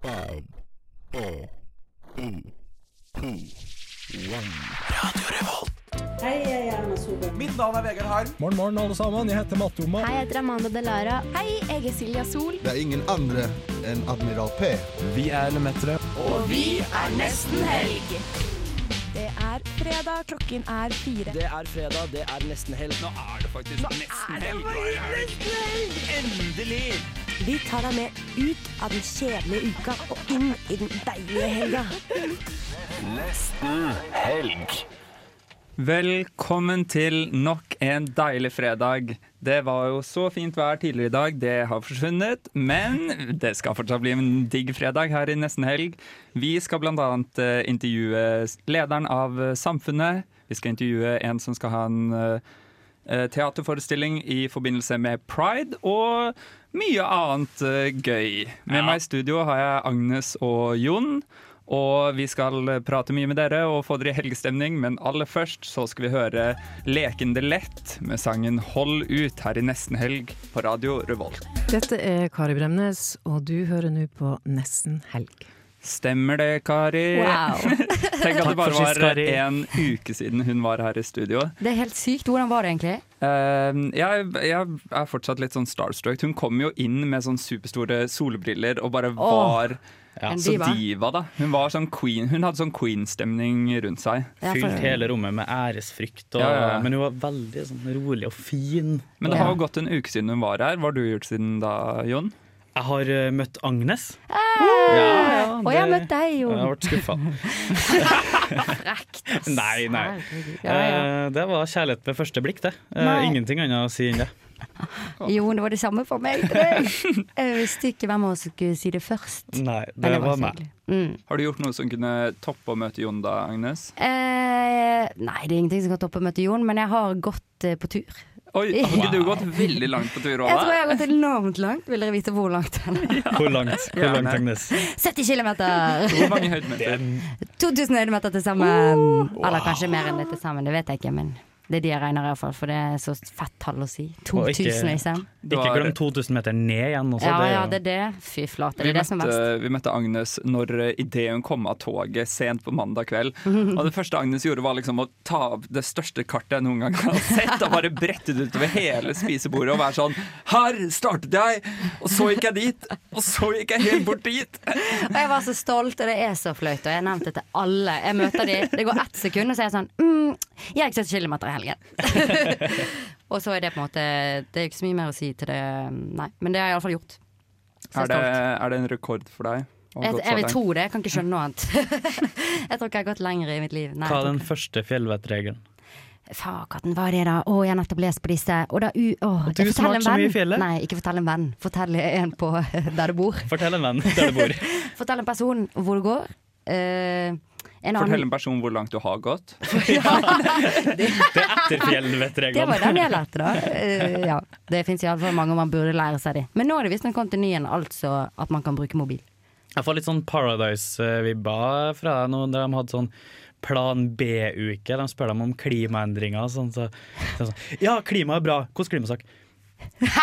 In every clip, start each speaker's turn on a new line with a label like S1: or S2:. S1: Five, four, three, two, one.
S2: Hei, jeg er Erna Solberg.
S3: Mitt navn er Vegard Harm.
S4: Morgen, morgen, alle sammen. Jeg heter Matte Oma.
S5: Hei, jeg heter Amanda Delara. Hei, jeg er Silja Sol.
S6: Det er ingen andre enn Admiral P.
S7: Vi er Lemetere.
S8: Og vi er nesten helg.
S9: Det er fredag, klokken er fire.
S10: Det er fredag, det er nesten helg.
S11: Nå er det faktisk Nå nesten helg.
S12: Nå er det nesten helg!
S11: Endelig!
S13: Vi tar deg med ut av den kjedelige uka og inn i den deilige helga.
S14: Nesten helg.
S15: Velkommen til nok en deilig fredag. Det var jo så fint vær tidligere i dag, det har forsvunnet. Men det skal fortsatt bli en digg fredag her i nesten helg. Vi skal bl.a. intervjue lederen av eh, Samfunnet. Vi skal intervjue en som skal ha en eh, teaterforestilling i forbindelse med pride. Og mye annet eh, gøy. Med ja. meg i studio har jeg Agnes og Jon. Og vi skal eh, prate mye med dere og få dere i helgestemning, men aller først så skal vi høre 'Lekende lett' med sangen 'Hold ut' her i nesten helg på Radio Revolt.
S16: Dette er Kari Bremnes, og du hører nå på Nesten helg.
S15: Stemmer det, Kari.
S16: Wow.
S15: Tenk at det bare var en uke siden hun var her i studio.
S16: Det er helt sykt. Hvordan var det egentlig?
S15: Uh, jeg, jeg, er fortsatt litt sånn starstruck. Hun kom jo inn med sånn superstore solbriller og bare var oh. Ja. Så diva. diva, da. Hun, var sånn queen, hun hadde sånn queen-stemning rundt seg.
S7: Ja, Fylt hele rommet med æresfrykt, og, ja, men hun var veldig sånn rolig og fin.
S15: Men det har jo gått en uke siden hun var her. Hva har du gjort siden da, Jon?
S7: Jeg har uh, møtt Agnes.
S16: Hey! Ja, og Ah! jeg har møtt deg, Jon.
S7: Jeg ble skuffa.
S16: Frekt.
S7: Nei, nei. Uh, det var kjærlighet ved første blikk, det. Uh, ingenting annet å si enn det.
S16: Jo, det var det samme for meg. Jeg visste ikke hvem av oss skulle si det først.
S7: Nei, det, var, meg.
S15: Mm. Har du gjort noe som kunne toppe å møte Jon da, Agnes?
S16: Eh, nei, det er ingenting som kan toppe å møte Jon, men jeg har gått eh, på tur.
S15: Oi, har ikke du gått veldig langt på tur òg?
S16: Jeg tror jeg har gått enormt langt. Vil dere vite hvor langt?
S7: Ja. Hvor langt, hvor langt Agnes?
S16: 70 km.
S15: Hvor mange høydemeter?
S16: 2000 høydemeter til sammen.
S7: Uh,
S16: Oh, wow. Eller kanskje mer enn det til sammen, det vet jeg ikke. men... Det er de jeg regner, iallfall, for det er så fett tall å si. 2000, ikke, liksom.
S7: Ikke glem 2000 meter ned igjen altså. også.
S16: Ja, det, ja, det er det. Fy flate. Det er det som er verst.
S15: Vi møtte Agnes når idet hun kom av toget sent på mandag kveld. Og det første Agnes gjorde, var liksom å ta av det største kartet jeg noen gang har sett, og bare brette det utover hele spisebordet og være sånn Her startet jeg! Og så gikk jeg dit! Og så gikk jeg helt bort dit!
S16: Og jeg var så stolt, og det er så flaut, og jeg har nevnt det til alle. Jeg møter de, det går ett sekund, og så er jeg sånn mm, Jeg er ikke så kilometer i helgen. og så er det på en måte Det er ikke så mye mer å si til det, nei. Men det har jeg iallfall gjort.
S15: Er det, er det, en rekord for deg?
S16: Jeg, jeg vil tro det, jeg kan ikke skjønne noe annet. jeg tror ikke jeg har gått lenger i mitt liv.
S7: Nei, Hva er den første fjellvettregelen?
S16: Fakaten, hva er det da? Å, jeg har nettopp lest på disse. Og da, u, å,
S7: du som har vært så mye i fjellet?
S16: Nei, ikke fortell en venn. Fortell en på der du bor.
S7: Fortell en venn der du bor.
S16: fortell en person hvor du går. Uh,
S15: en Fortell en person hvor langt du har gått.
S7: ja, det, det er etter fjellvettreglene.
S16: Det var den jeg lærte, da. Uh, ja. Det fins iallfall mange man burde lære seg det. Men nå er det visstnok kommet en ny en, altså at man kan bruke mobil.
S7: Jeg får litt sånn Paradise-vibba fra noen der de hadde sånn Plan B-uke. De spør dem om klimaendringer. Sånn, så, sånn, ja, klima er bra. Hvordan klimasak?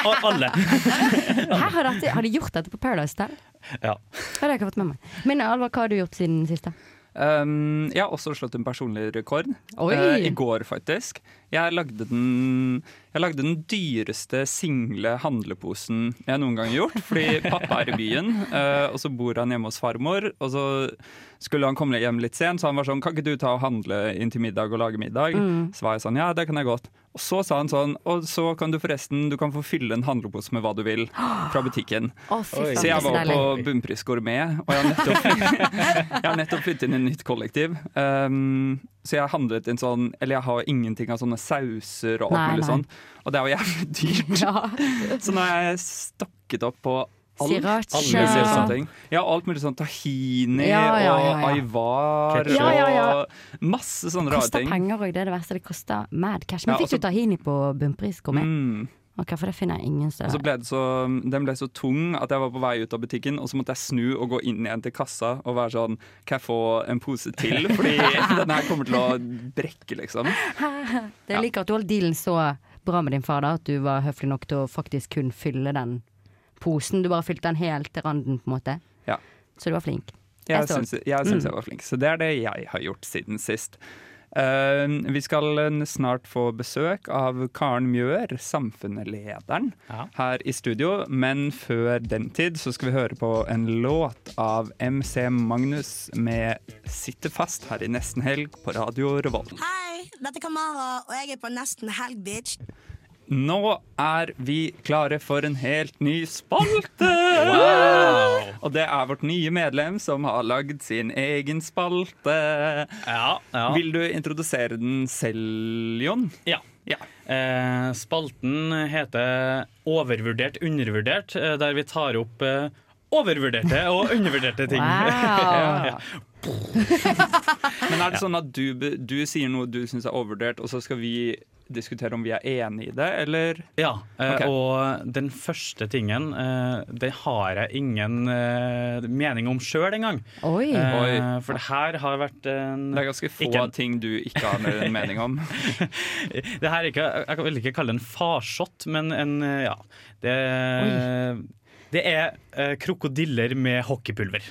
S7: Og alle.
S16: Her har, dette, har, de gjort dette på Paradise Style?
S7: Ja.
S16: Det har jeg ikke fått med meg. Men Alvar, hva har du gjort siden sist?
S15: Um, jeg har også slått en personlig rekord. Uh, I går, faktisk. Jeg lagde den, jeg lagde den dyreste single handleposen jeg noen gang har gjort. Fordi pappa er i byen, uh, og så bor han hjemme hos farmor. Og så skulle han komme hjem litt sent, så han var sånn Kan ikke du ta og handle inn til middag og lage middag? Mm. Så var jeg sånn Ja, det kan jeg godt. Og så sa han sånn Og så kan du forresten Du kan få fylle en handlepose med hva du vil fra butikken.
S16: Oh, fyrt,
S15: så jeg var på Bunnpris Gourmet, og jeg har nettopp, jeg har nettopp flyttet inn i nytt kollektiv. Um, så jeg handlet en sånn Eller jeg har ingenting av sånne sauser og alt mulig sånn. Og det er jo jævlig dyrt. Ja. så nå har jeg stokket opp på alt.
S16: Siracha.
S15: Alle sånne ting. Ja, alt mulig sånn tahini ja, ja, og aivar og masse sånne rare ting. altså-
S16: Koster penger òg, det er det verste. Det koster mad cash. Men fikk også, du tahini på bunnpris? Kom igjen. Mm. Okay, for det finner jeg ingen steder.
S15: Så ble så, den ble så tung at jeg var på vei ut av butikken, og så måtte jeg snu og gå inn igjen til kassa og være sånn Kan jeg få en pose til? Fordi den her kommer til å brekke, liksom.
S16: Det jeg liker at du holdt dealen så bra med din far, da, at du var høflig nok til å faktisk kun fylle den posen. Du bare fylte den helt til randen, på en måte.
S15: Ja.
S16: Så du var flink.
S15: Jeg syns jeg, syns jeg var flink. Så det er det jeg har gjort siden sist. Eh, vi skal eh, snart få besøk av Karen Mjøer, samfunnslederen, her i studio. Men før den tid så skal vi høre på en låt av MC Magnus med 'Sitter fast' her i Nesten Helg på Radio Revolt.
S13: Hei, dette er Kamara, og jeg er på Nesten Helg, bitch.
S15: Nå er vi klare for en helt ny spalte!
S7: Wow!
S15: Og det er vårt nye medlem som har lagd sin egen spalte. Vil du introdusere den selv, Jon?
S7: Ja. Eh, spalten heter Overvurdert undervurdert, eh, der vi tar opp eh, overvurderte og undervurderte ting.
S15: Wow.
S7: Ja.
S15: Men er det sånn at du, be- du sier noe du syns er overvurdert, og så skal vi diskutere om vi er enig i det, eller?
S7: Ja, eh,
S15: Ok.
S7: og den første tingen, eh, det har jeg ingen eh, mening om sjøl engang.
S16: Oi.
S7: Eh, For det her har vært en
S15: Det er ganske få
S7: ikke en-
S15: ting du ikke har en mening om.
S7: det her er ikke, jeg vil ikke kalle det en farsott, men en eh, ja. Det, det er eh, krokodiller med hockeypulver.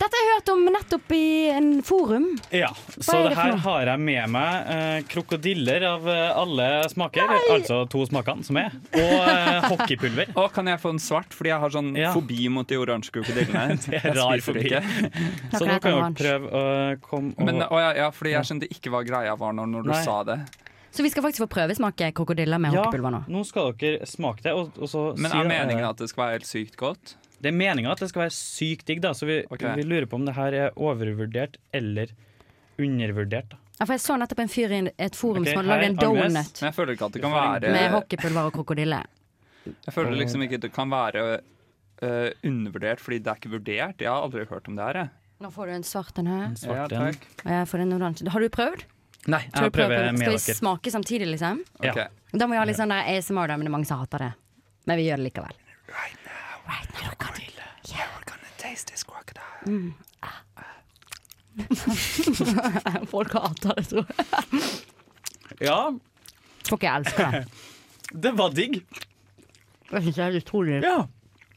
S5: Dette har jeg hørt om nettopp i en forum.
S7: Ja, Så
S5: er
S7: det
S5: det for
S7: her
S5: noe?
S7: har jeg med meg eh, krokodiller av eh, alle smaker, altså to smakene som er, og eh, hockeypulver.
S15: Å, kan jeg få en svart? Fordi jeg har sånn fobi mot de oransje krokodillene.
S7: Det er
S15: Jeg
S7: rar
S15: spiser
S7: forbi.
S15: ikke.
S7: Så nå kan dere prøve å komme og
S15: Men, eh, å, ja, ja, fordi jeg skjønte ikke hva greia var når, når du
S7: Nei.
S15: sa det.
S16: Så vi skal faktisk få prøvesmake krokodiller med
S7: Ja,
S16: hockeypulver nå.
S7: nå skal dere smake det. eh, Og, og så
S15: Men er meningen at det skal være helt sykt godt?
S7: Det er meningen at det skal være sykt digg, da. Så vi, vi lurer på om det her er overvurdert eller undervurdert. Da.
S16: Ja, for jeg så nettopp en fyr i en- et forum
S7: Ok,
S16: som hadde lagd
S7: her,
S16: en
S7: Agnes.
S16: donut
S15: Men jeg føler ikke at det kan
S16: med
S15: være
S16: hockeypulver og krokodille.
S15: Jeg føler liksom ikke at det kan være eh, undervurdert, fordi det er ikke vurdert. Jeg har aldri hørt om det her. jeg.
S16: Nå får du en svart en her.
S15: svart Ja, en. takk.
S16: Og jeg får en oransje. Har du prøvd?
S7: Nei,
S16: Skal
S7: jeg
S16: du prøve
S7: prøver
S16: på-
S7: med
S16: Skal vi
S7: dere.
S16: smake samtidig, liksom?
S7: Ja. Ok.
S16: Da må vi ha litt sånn der ASMR, da, men det er mange som hater det. Men vi gjør det likevel. Mm. Folk hater det, tror jeg.
S7: Ja,
S16: Folk jeg elsker det.
S7: det var digg.
S16: Jeg syns det er utrolig
S7: ja.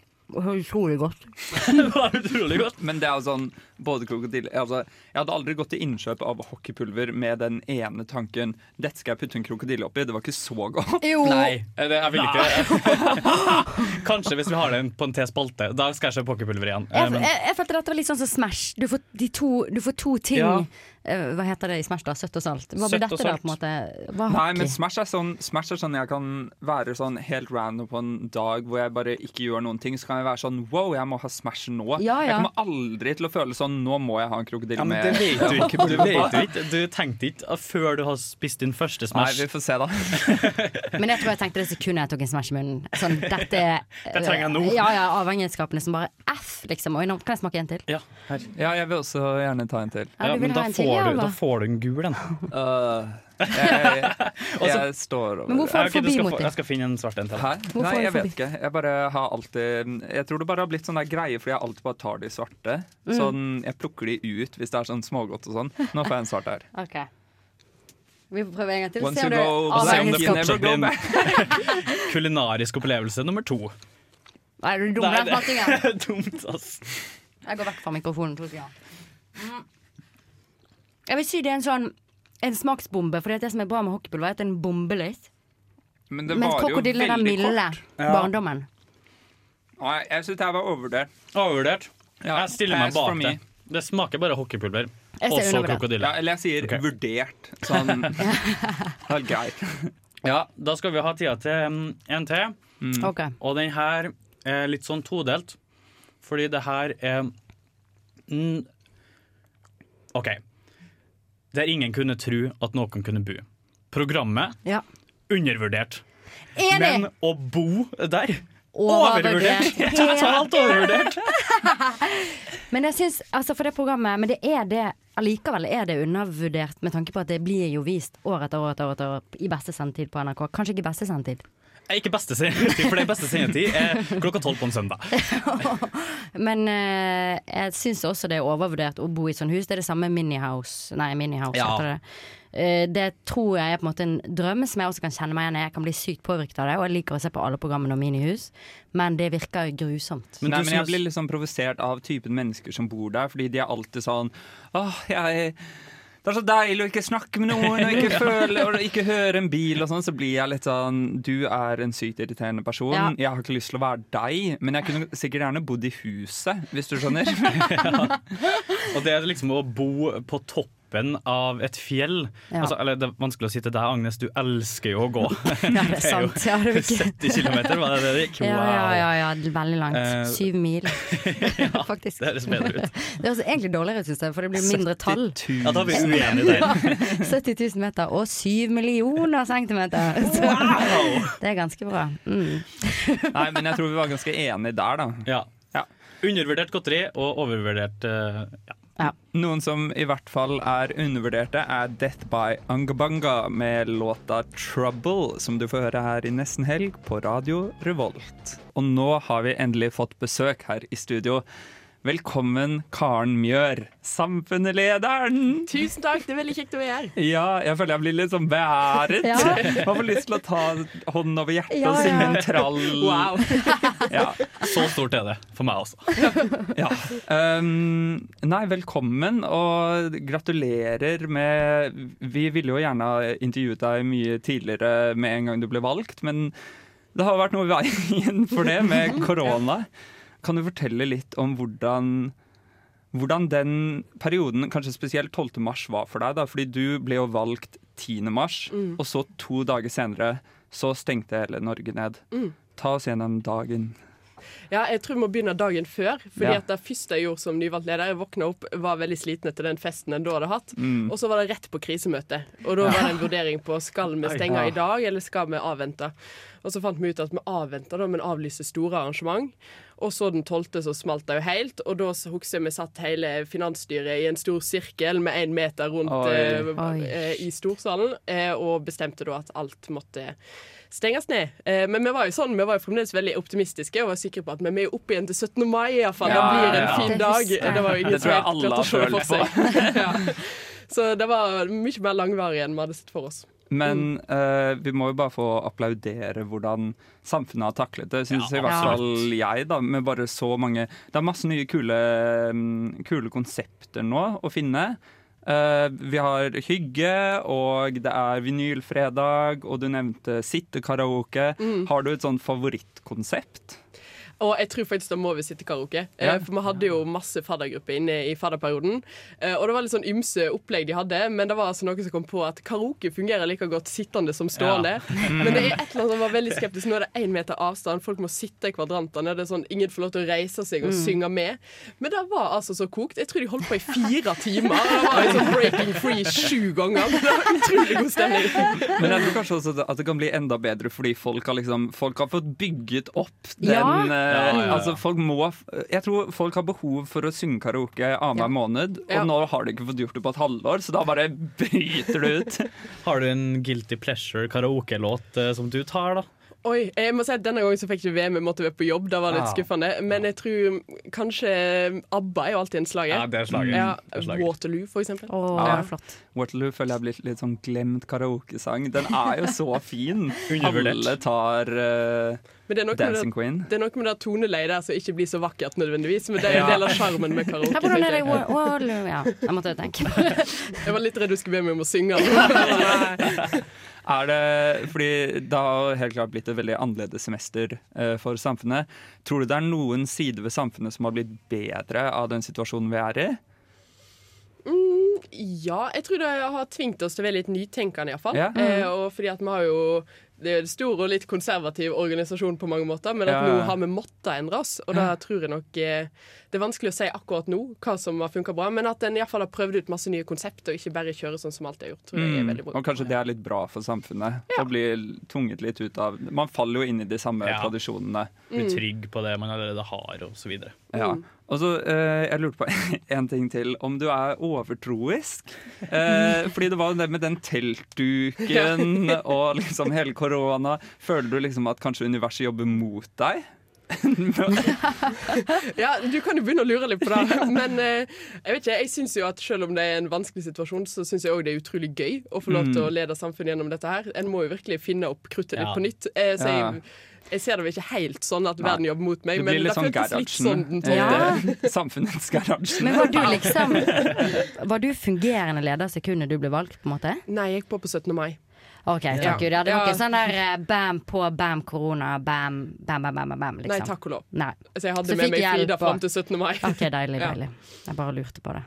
S16: Utrolig godt.
S7: det var utrolig godt.
S15: Men det er jo sånn både krokodille altså, Jeg hadde aldri gått til innkjøp av hockeypulver med den ene tanken Dette skal jeg putte en krokodille oppi. Det var ikke så godt.
S16: Jo.
S7: Nei, eh, det, jeg vil ikke Kanskje hvis vi har det på en T-spalte. Da skal jeg se pokerpulver igjen. Eh,
S16: Jeg,
S7: men-
S16: jeg, jeg følte dette var litt sånn som Smash. Du får, de to, du får to ting
S15: Ja.
S16: Eh, Hva heter det i Smash, da? Søtt og salt? Hva
S15: Søtt
S16: blir
S15: og
S16: dette, da?
S15: salt.
S16: på en måte? Hva er
S15: Nei,
S16: hockey?
S15: men Smash er, sånn, Smash er sånn jeg kan være sånn helt random på en dag hvor jeg bare ikke gjør noen ting. Så kan jeg være sånn wow, jeg må ha Smash nå.
S16: Ja, ja.
S15: Jeg kommer aldri til å føle sånn nå må jeg ha en krokodille
S7: Ja, men
S15: med
S7: det vet du ikke. Du,
S15: hockeypulver på».
S7: vet jo ikke. du tenkte ikke at før du har spist din første smash.
S15: Nei, vi får se, da.
S16: Men jeg tror jeg tenkte det sekundet jeg tok en smash i munnen. Sånn, dette er
S15: Det trenger jeg nå.
S16: Ja, ja, avhengighetsskapende som bare F, liksom. Oi, nå kan jeg smake en til.
S7: Ja,
S15: Ja, jeg vil også gjerne ta en til.
S16: Ja, Ja, du vil men da ha en til, får ja, du- da eller?
S7: får du en gul en.
S15: jeg, jeg, jeg står over
S16: Men hvorfor er
S15: det.
S16: det forbi mot deg?
S7: Jeg skal finne en svart en til.
S15: Hæ?
S16: Hvorfor
S15: Nei,
S16: er det
S15: jeg vet
S16: forbi?
S15: ikke. Jeg bare har alltid Jeg tror det bare har blitt sånn der greie fordi jeg alltid bare tar de svarte.
S16: Mm.
S15: Sånn, Jeg plukker de ut hvis det er sånn smågodt og sånn. Nå får jeg en svart her.
S16: OK. Vi får prøve en gang til.
S15: Once
S16: Se
S15: you
S16: om det
S15: go
S16: er
S15: black,
S16: avhengighetsskap-
S15: you never go back.
S7: Kulinarisk opplevelse nummer to.
S16: Nei, du er dum,
S7: Nei,
S16: den smakingen.
S7: det er dumt, ass.
S16: Jeg går vekk fra mikrofonen. to sekunder. Mm. Jeg vil si det er en sånn en smaksbombe, for det som er bra med hockeypulver, er at den bomber litt.
S15: Men det
S16: Men
S15: varer jo
S16: krokodille er den
S15: veldig
S16: milde
S15: kort.
S16: barndommen.
S15: Nei, jeg syns det her var overvurdert.
S7: Overvurdert. Jeg stiller meg
S15: pass for
S7: bak
S15: me.
S7: det. Det smaker bare hockeypulver.
S15: Jeg ser
S7: Også
S15: undervurdert.
S7: krokodille.
S15: Ja, eller jeg sier vurdert. Sånn Helt greit.
S7: Ja, da skal vi ha tida til mm, en til.
S15: Mm.
S16: Ok.
S7: Og den her er litt sånn todelt, fordi det her er mm, OK. Der ingen kunne tro at noen kunne bo. Programmet
S16: Ja.
S7: undervurdert.
S16: Enig!
S7: Men å bo der
S16: Overvurdert.
S7: overvurdert! Totalt overvurdert!
S16: Men jeg synes, altså for det programmet Men det er det Allikevel er det undervurdert med tanke på at det blir jo vist år etter år etter år, etter år i beste sendetid på NRK. Kanskje ikke beste sendetid.
S7: Eh, Ikke beste sendetid, for det er beste sendetid er klokka tolv på en søndag.
S17: Men eh, jeg syns også det er overvurdert å bo i sånn hus. Det er det samme minihouse. Nei, minihouse
S7: Ja.
S17: heter det. Eh, det tror jeg er på en måte en drøm som jeg også kan kjenne meg igjen i. Jeg kan bli sykt påvirket av det, og jeg liker å se på alle programmene om minihus, men det virker jo grusomt.
S15: Nei, men jeg blir litt sånn provosert av typen mennesker som bor der, fordi de er alltid sånn Åh, jeg det er så deilig å ikke snakke med noen og ikke,
S17: Ja.
S15: føle, og ikke høre en bil og sånn. Så blir jeg litt sånn Du er en sykt irriterende person.
S17: Ja.
S15: Jeg har ikke lyst til å være deg, men jeg kunne sikkert gjerne bodd i huset, hvis du skjønner.
S7: Og det er liksom å bo på toppen av et fjell.
S17: Ja.
S7: Altså, eller det er vanskelig å si til deg, Agnes, du elsker jo å gå.
S17: Ja, det er sant. Ja, det er ikke-
S7: 70 kilometer, var det det det gikk?
S17: Ja, ja,
S7: Wow.
S17: ja, ja, veldig langt.
S7: Eh,
S17: Syv mil. Faktisk.
S7: Det
S15: liksom-
S7: høres bedre ut.
S17: Det høres egentlig dårligere ut, syns jeg, for det blir mindre tall.
S7: 70 000. Ja, da er vi uenige der.
S17: Ja, 70 000 meter og 7 millioner centimeter. Så det er ganske bra. Mm.
S15: Nei, men jeg tror vi var ganske enige der, da.
S7: Ja. Undervurdert godteri og overvurdert eh, ja.
S15: Noen som i hvert fall er undervurderte, er Death by Angabanga med låta 'Trouble', som du får høre her i nesten helg på Radio Revolt. Og nå har vi endelig fått besøk her i studio. Velkommen, Karen Mjør, samfunnslederen!
S18: Tusen takk, det er veldig kjekt å være her.
S15: Ja, jeg føler jeg blir litt sånn beæret.
S18: Ja.
S15: Jeg får lyst til å ta hånden over hjertet
S18: Ja,
S15: og synge
S18: ja.
S15: en trall.
S18: Wow.
S7: Så stort er det for meg altså. også.
S15: Ja. Um, nei, velkommen og gratulerer med Vi ville jo gjerne ha intervjuet deg mye tidligere med en gang du ble valgt, men det har vært noe i veien for det med korona. Kan du fortelle litt om hvordan, hvordan den perioden, kanskje spesielt 12. mars, var for deg? da? Fordi du ble jo valgt 10. mars,
S18: Mm.
S15: og så to dager senere så stengte hele Norge ned.
S18: Mm.
S15: Ta oss gjennom dagen.
S18: Ja, jeg tror vi må begynne dagen før. Fordi
S15: Ja.
S18: at Det første jeg gjorde som nyvalgt leder, jeg våkna opp, var veldig sliten etter den festen en da hadde hatt.
S15: Mm.
S18: Og så var det rett på krisemøte. Og da var det en vurdering på skal vi
S15: Oi.
S18: stenge
S15: Ja.
S18: i dag, eller skal vi avvente. Og så fant vi ut at vi avventa, da, men avlyste store arrangement. Og så den tolvte så smalt det jo helt, og da så husker jeg vi satt hele finansstyret i en stor sirkel med én meter rundt
S15: Oi.
S18: eh,
S15: Oi.
S18: eh, i storsalen, eh, og bestemte da at alt måtte stenges ned. Eh, Men vi var jo sånn, vi var jo fremdeles veldig optimistiske og var sikre på at vi er jo oppe igjen til 17. mai, iallfall.
S15: Ja,
S18: det blir en
S15: ja, ja.
S18: fin
S15: Det
S18: dag.
S15: husker jeg.
S18: Det var jo ingen
S15: Det tror jeg
S18: som helt
S15: alle
S18: klarte å se
S15: har
S18: for
S15: følt
S18: seg. ja. Så det var mye mer langvarig enn vi hadde sett for oss.
S15: Men
S18: Mm.
S15: eh, vi må jo bare få applaudere hvordan samfunnet har taklet det, syns
S18: Ja,
S15: i hvert
S18: absolutt.
S15: fall jeg. da, med bare så mange Det er masse nye kule, mm, kule konsepter nå å finne. Eh, vi har hygge, og det er vinylfredag, og du nevnte sittekaraoke.
S18: Mm.
S15: Har du et sånt favorittkonsept?
S18: Og jeg tror faktisk da må vi sitte karaoke.
S15: Ja.
S18: Eh, For vi hadde jo masse faddergrupper inne i fadderperioden. Eh, Og det var litt sånn ymse opplegg de hadde, men det var altså noen som kom på at karaoke fungerer like godt sittende som stående.
S19: Ja. Mm.
S18: Men det er et eller annet som var veldig skeptisk. Nå er det én meter avstand, folk må sitte i kvadrantene. Det er sånn, ingen får lov til å reise seg og
S19: Mm.
S18: synge med. Men det var altså så kokt. Jeg tror de holdt på i fire timer. og Det var liksom breaking free sju ganger. Det var utrolig god stemning.
S15: Men jeg tror kanskje også at det kan bli enda bedre fordi folk har, liksom, folk har fått bygget opp den
S18: Ja.
S15: eh,
S18: Ja, ja, ja.
S15: Altså folk må Jeg tror folk har behov for å synge karaoke annenhver måned, og
S18: Ja.
S15: nå har de ikke fått gjort det på et halvår, så da bare bryter det ut.
S7: Har du en guilty pleasure karaokelåt eh, som du tar, da?
S18: Oi, jeg må si at Denne gangen så fikk jeg ikke VM, jeg måtte være på jobb. Det var litt
S7: Ah.
S18: skuffende. Men jeg tror kanskje ABBA er jo alltid en slager.
S15: Ja, det er slager.
S18: Ja,
S15: Det er slager.
S18: Waterloo, for eksempel.
S15: Ja. Waterloo føler jeg er blitt litt sånn glemt karaokesang. Den er jo så fin.
S7: Undervurdert.
S15: Alle tar eh,
S18: Men det er noe med
S15: Dancing
S18: det-
S15: Queen.
S18: Det er noe med det toneleiet der som ikke blir så vakkert nødvendigvis, men det er en
S15: Ja.
S18: del av sjarmen med karaoke.
S17: Ja, hvordan er det i
S18: tenker jeg.
S17: Wa- Waterloo? Ja, jeg måtte tenke.
S18: Jeg var litt redd du skulle be meg om å synge. Nei.
S15: Er det, fordi det har helt klart blitt et veldig annerledes semester eh, for samfunnet. Tror du det er noen sider ved samfunnet som har blitt bedre av den situasjonen vi er i?
S18: Mm, ja, jeg tror det har tvingt oss til å være litt nytenkende, iallfall.
S15: Ja.
S18: Eh, og fordi at vi har jo det er jo en stor og litt konservativ organisasjon på mange måter, men at
S15: Ja.
S18: nå har vi måttet endre oss, og da tror jeg nok eh, Det er vanskelig å si akkurat nå hva som har funka bra, men at en iallfall har prøvd ut masse nye konsept, og ikke bare kjører sånn som alt er gjort, tror jeg er
S15: Mm.
S18: veldig bra.
S15: Og kanskje det er litt bra for samfunnet? Å bli tvunget litt ut av Man faller jo inn i de samme tradisjonene.
S7: Bli
S17: Mm.
S7: trygg på det man allerede har, og så videre.
S18: Mm.
S15: Ja. Og så, eh, jeg lurte på en ting til. Om du er overtroisk? Eh, fordi det var jo det med den teltduken og liksom hele korona. Føler du liksom at kanskje universet jobber mot deg?
S18: ja, du kan jo begynne å lure litt på det. Men eh, jeg vet ikke, jeg synes jo at selv om det er en vanskelig situasjon, så syns jeg òg det er utrolig gøy å få lov til å lede samfunnet gjennom dette her. En må jo virkelig finne opp kruttet litt
S15: Mm. Ja.
S18: på nytt. Eh, så
S15: Ja.
S18: jeg, jeg ser det vel ikke helt sånn at
S15: Nei.
S18: verden jobber mot meg,
S15: Det
S18: men
S15: blir litt
S18: det
S15: sånn
S18: føltes litt sånn
S15: Gerhardsen.
S18: den
S15: eh,
S18: tolvte.
S15: Samfunnets Gerhardsen.
S16: Men var du liksom Var du fungerende leder sekundet du ble valgt, på en måte?
S18: Nei, jeg gikk på på 17. mai.
S16: OK, takk
S18: Ja.
S16: gud. Ja, Det var
S18: Ja.
S16: ikke sånn der eh, bam på, bam korona, bam, bam, bam, bam, bam, bam liksom.
S18: Nei, takk og lov.
S16: Nei.
S18: Så jeg hadde
S16: Så
S18: med
S16: fikk
S18: meg
S16: hjelp
S18: Frida
S16: og-
S18: fram til 17. mai.
S16: OK, deilig,
S18: Ja.
S16: deilig. Jeg bare lurte på det.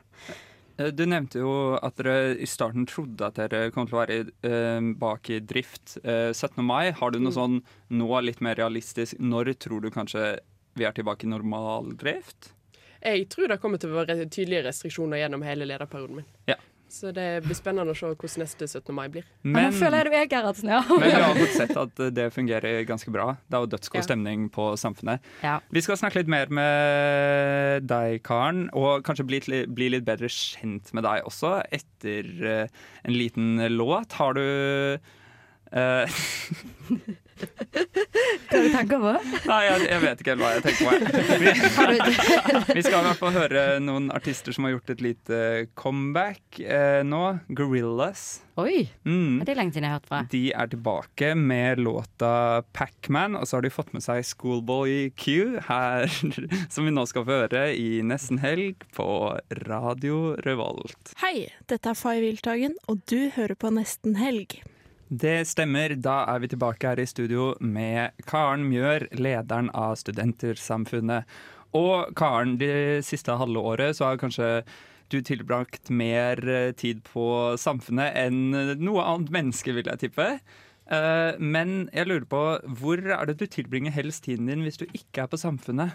S15: Eh, Du nevnte jo at dere i starten trodde at dere kom til å være eh, bak i drift eh, 17. mai. Har du noe
S18: Mm.
S15: sånn nå litt mer realistisk Når tror du kanskje vi er tilbake i normaldrift?
S18: Jeg tror det kommer til å være tydelige restriksjoner gjennom hele lederperioden min.
S15: Ja.
S18: Så det blir spennende å se hvordan neste 17. mai blir.
S15: Men-
S20: Nå føler jeg du er Gerhardsen, ja.
S15: Men vi har godt sett at det fungerer ganske bra. Det er jo dødsgod
S18: Ja.
S15: stemning på samfunnet.
S16: Ja.
S15: Vi skal snakke litt mer med deg, Karen, og kanskje bli, litt- bli litt bedre kjent med deg også etter eh, en liten låt. Har du eh,
S16: Hva har du tenker på?
S15: Nei, jeg, jeg vet ikke helt hva jeg tenker på. jeg. Vi, vi skal i hvert fall høre noen artister som har gjort et lite comeback eh, nå. Gorillas.
S16: Oi!
S15: Mm.
S16: Det er lenge siden jeg har hørt fra.
S15: De er tilbake med låta Pacman, og så har de fått med seg Schoolboy Q, her, som vi nå skal få høre i nesten helg på Radio Revolt.
S5: Hei, dette er Fay Wiltagen, og du hører på Nesten Helg.
S15: Det stemmer, da er vi tilbake her i studio med Karen Mjør, lederen av Studentersamfunnet. Og Karen, det siste halve året så har kanskje du tilbrakt mer eh, tid på samfunnet enn noe annet menneske, vil jeg tippe. Eh, Men jeg lurer på, hvor er det du tilbringer helst tiden din hvis du ikke er på samfunnet?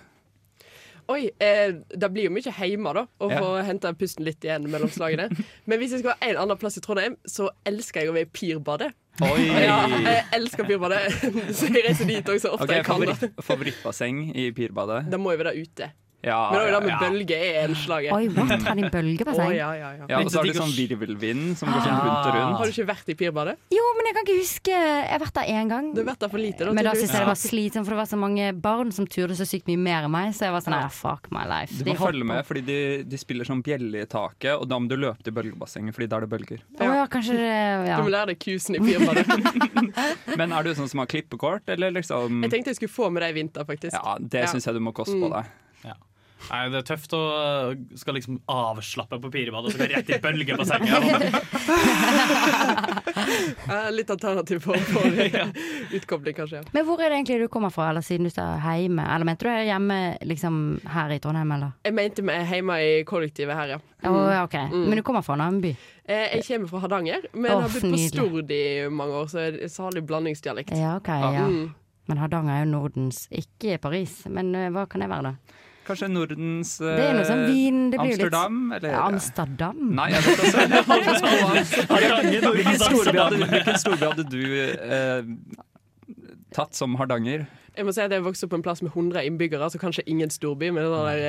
S18: Oi, eh, det blir jo mye hjemme, da, å
S15: Ja.
S18: få hente pusten litt igjen mellom slagene. Men hvis jeg skal ha en annen plass i Trondheim, så elsker jeg å være i Pirbadet.
S15: Oi!
S18: Ja, jeg elsker Pirbadet, så jeg reiser dit også så ofte
S15: Ok,
S18: jeg kan. da.
S15: favoritt, favorittbasseng i Pirbadet?
S18: Da må jeg være ute.
S15: Ja,
S18: Men det er
S15: Ah,
S18: jo
S15: ja,
S18: det med
S15: ja.
S18: bølge er en slaget.
S16: Oi, what? Har de bølgebasseng?
S18: Å, ja, ja, ja.
S15: Ja, og så har du sånn virvelvind som går sånn rundt og rundt.
S18: Har du ikke vært i Pirbadet?
S16: Jo, men jeg kan ikke huske Jeg har vært der én gang.
S18: Du har vært der for lite, da.
S16: Men da
S18: tydeligvis.
S16: syntes jeg det var slitsomt, for det var så mange barn som turde så sykt mye mer enn meg. Så jeg var sånn, nei, fuck my life.
S15: Du
S16: De
S15: må
S16: hopper.
S15: følge med, fordi de, de spiller sånn bjelle i taket, og da må du løpe til bølgebassenget, fordi da er det bølger.
S16: Å ja, kanskje det ja.
S18: Du må lære deg kusen i Pirbadet.
S15: Men er du sånn som har klippekort, eller liksom
S18: Jeg tenkte jeg skulle få med det i vinter, faktisk.
S15: Ja, det syns jeg du må koste på
S18: Mm.
S15: deg.
S7: Nei, det er tøft å øh, skal liksom avslappe på pirebadet og så gå rett i bølgebassenget.
S18: Eh, Litt alternativ form for utkobling, kanskje. ja.
S16: Men hvor er det egentlig du kommer fra, eller siden du sa hjemme? Eller mente du er hjemme liksom her i Trondheim, eller?
S18: Jeg mente vi er hjemme i kollektivet her, ja.
S16: Å ja, ok. Men du kommer fra en annen by?
S18: Eh, Jeg kommer fra Hardanger, men
S16: Åh,
S18: har bodd på
S16: nydelig.
S18: Stord i mange år, så jeg har litt blandingsdialekt.
S16: Ja, ok, ja.
S18: Mm.
S16: Men Hardanger er jo Nordens, ikke Paris. Men øh, hva kan det være, da?
S15: Kanskje Nordens eh,
S16: Det er noe sånn vin det blir jo
S15: Amsterdam,
S16: litt...
S15: eller?
S16: Amsterdam?
S15: Nei, jeg vet også.
S7: Hardanger, Nordens
S15: Hvilken storby
S7: Amsterdam.
S15: hadde, hvilken storby hadde du eh, tatt som Hardanger?
S18: Jeg må si at jeg vokste opp på en plass med 100 innbyggere, så kanskje ingen storby, men den der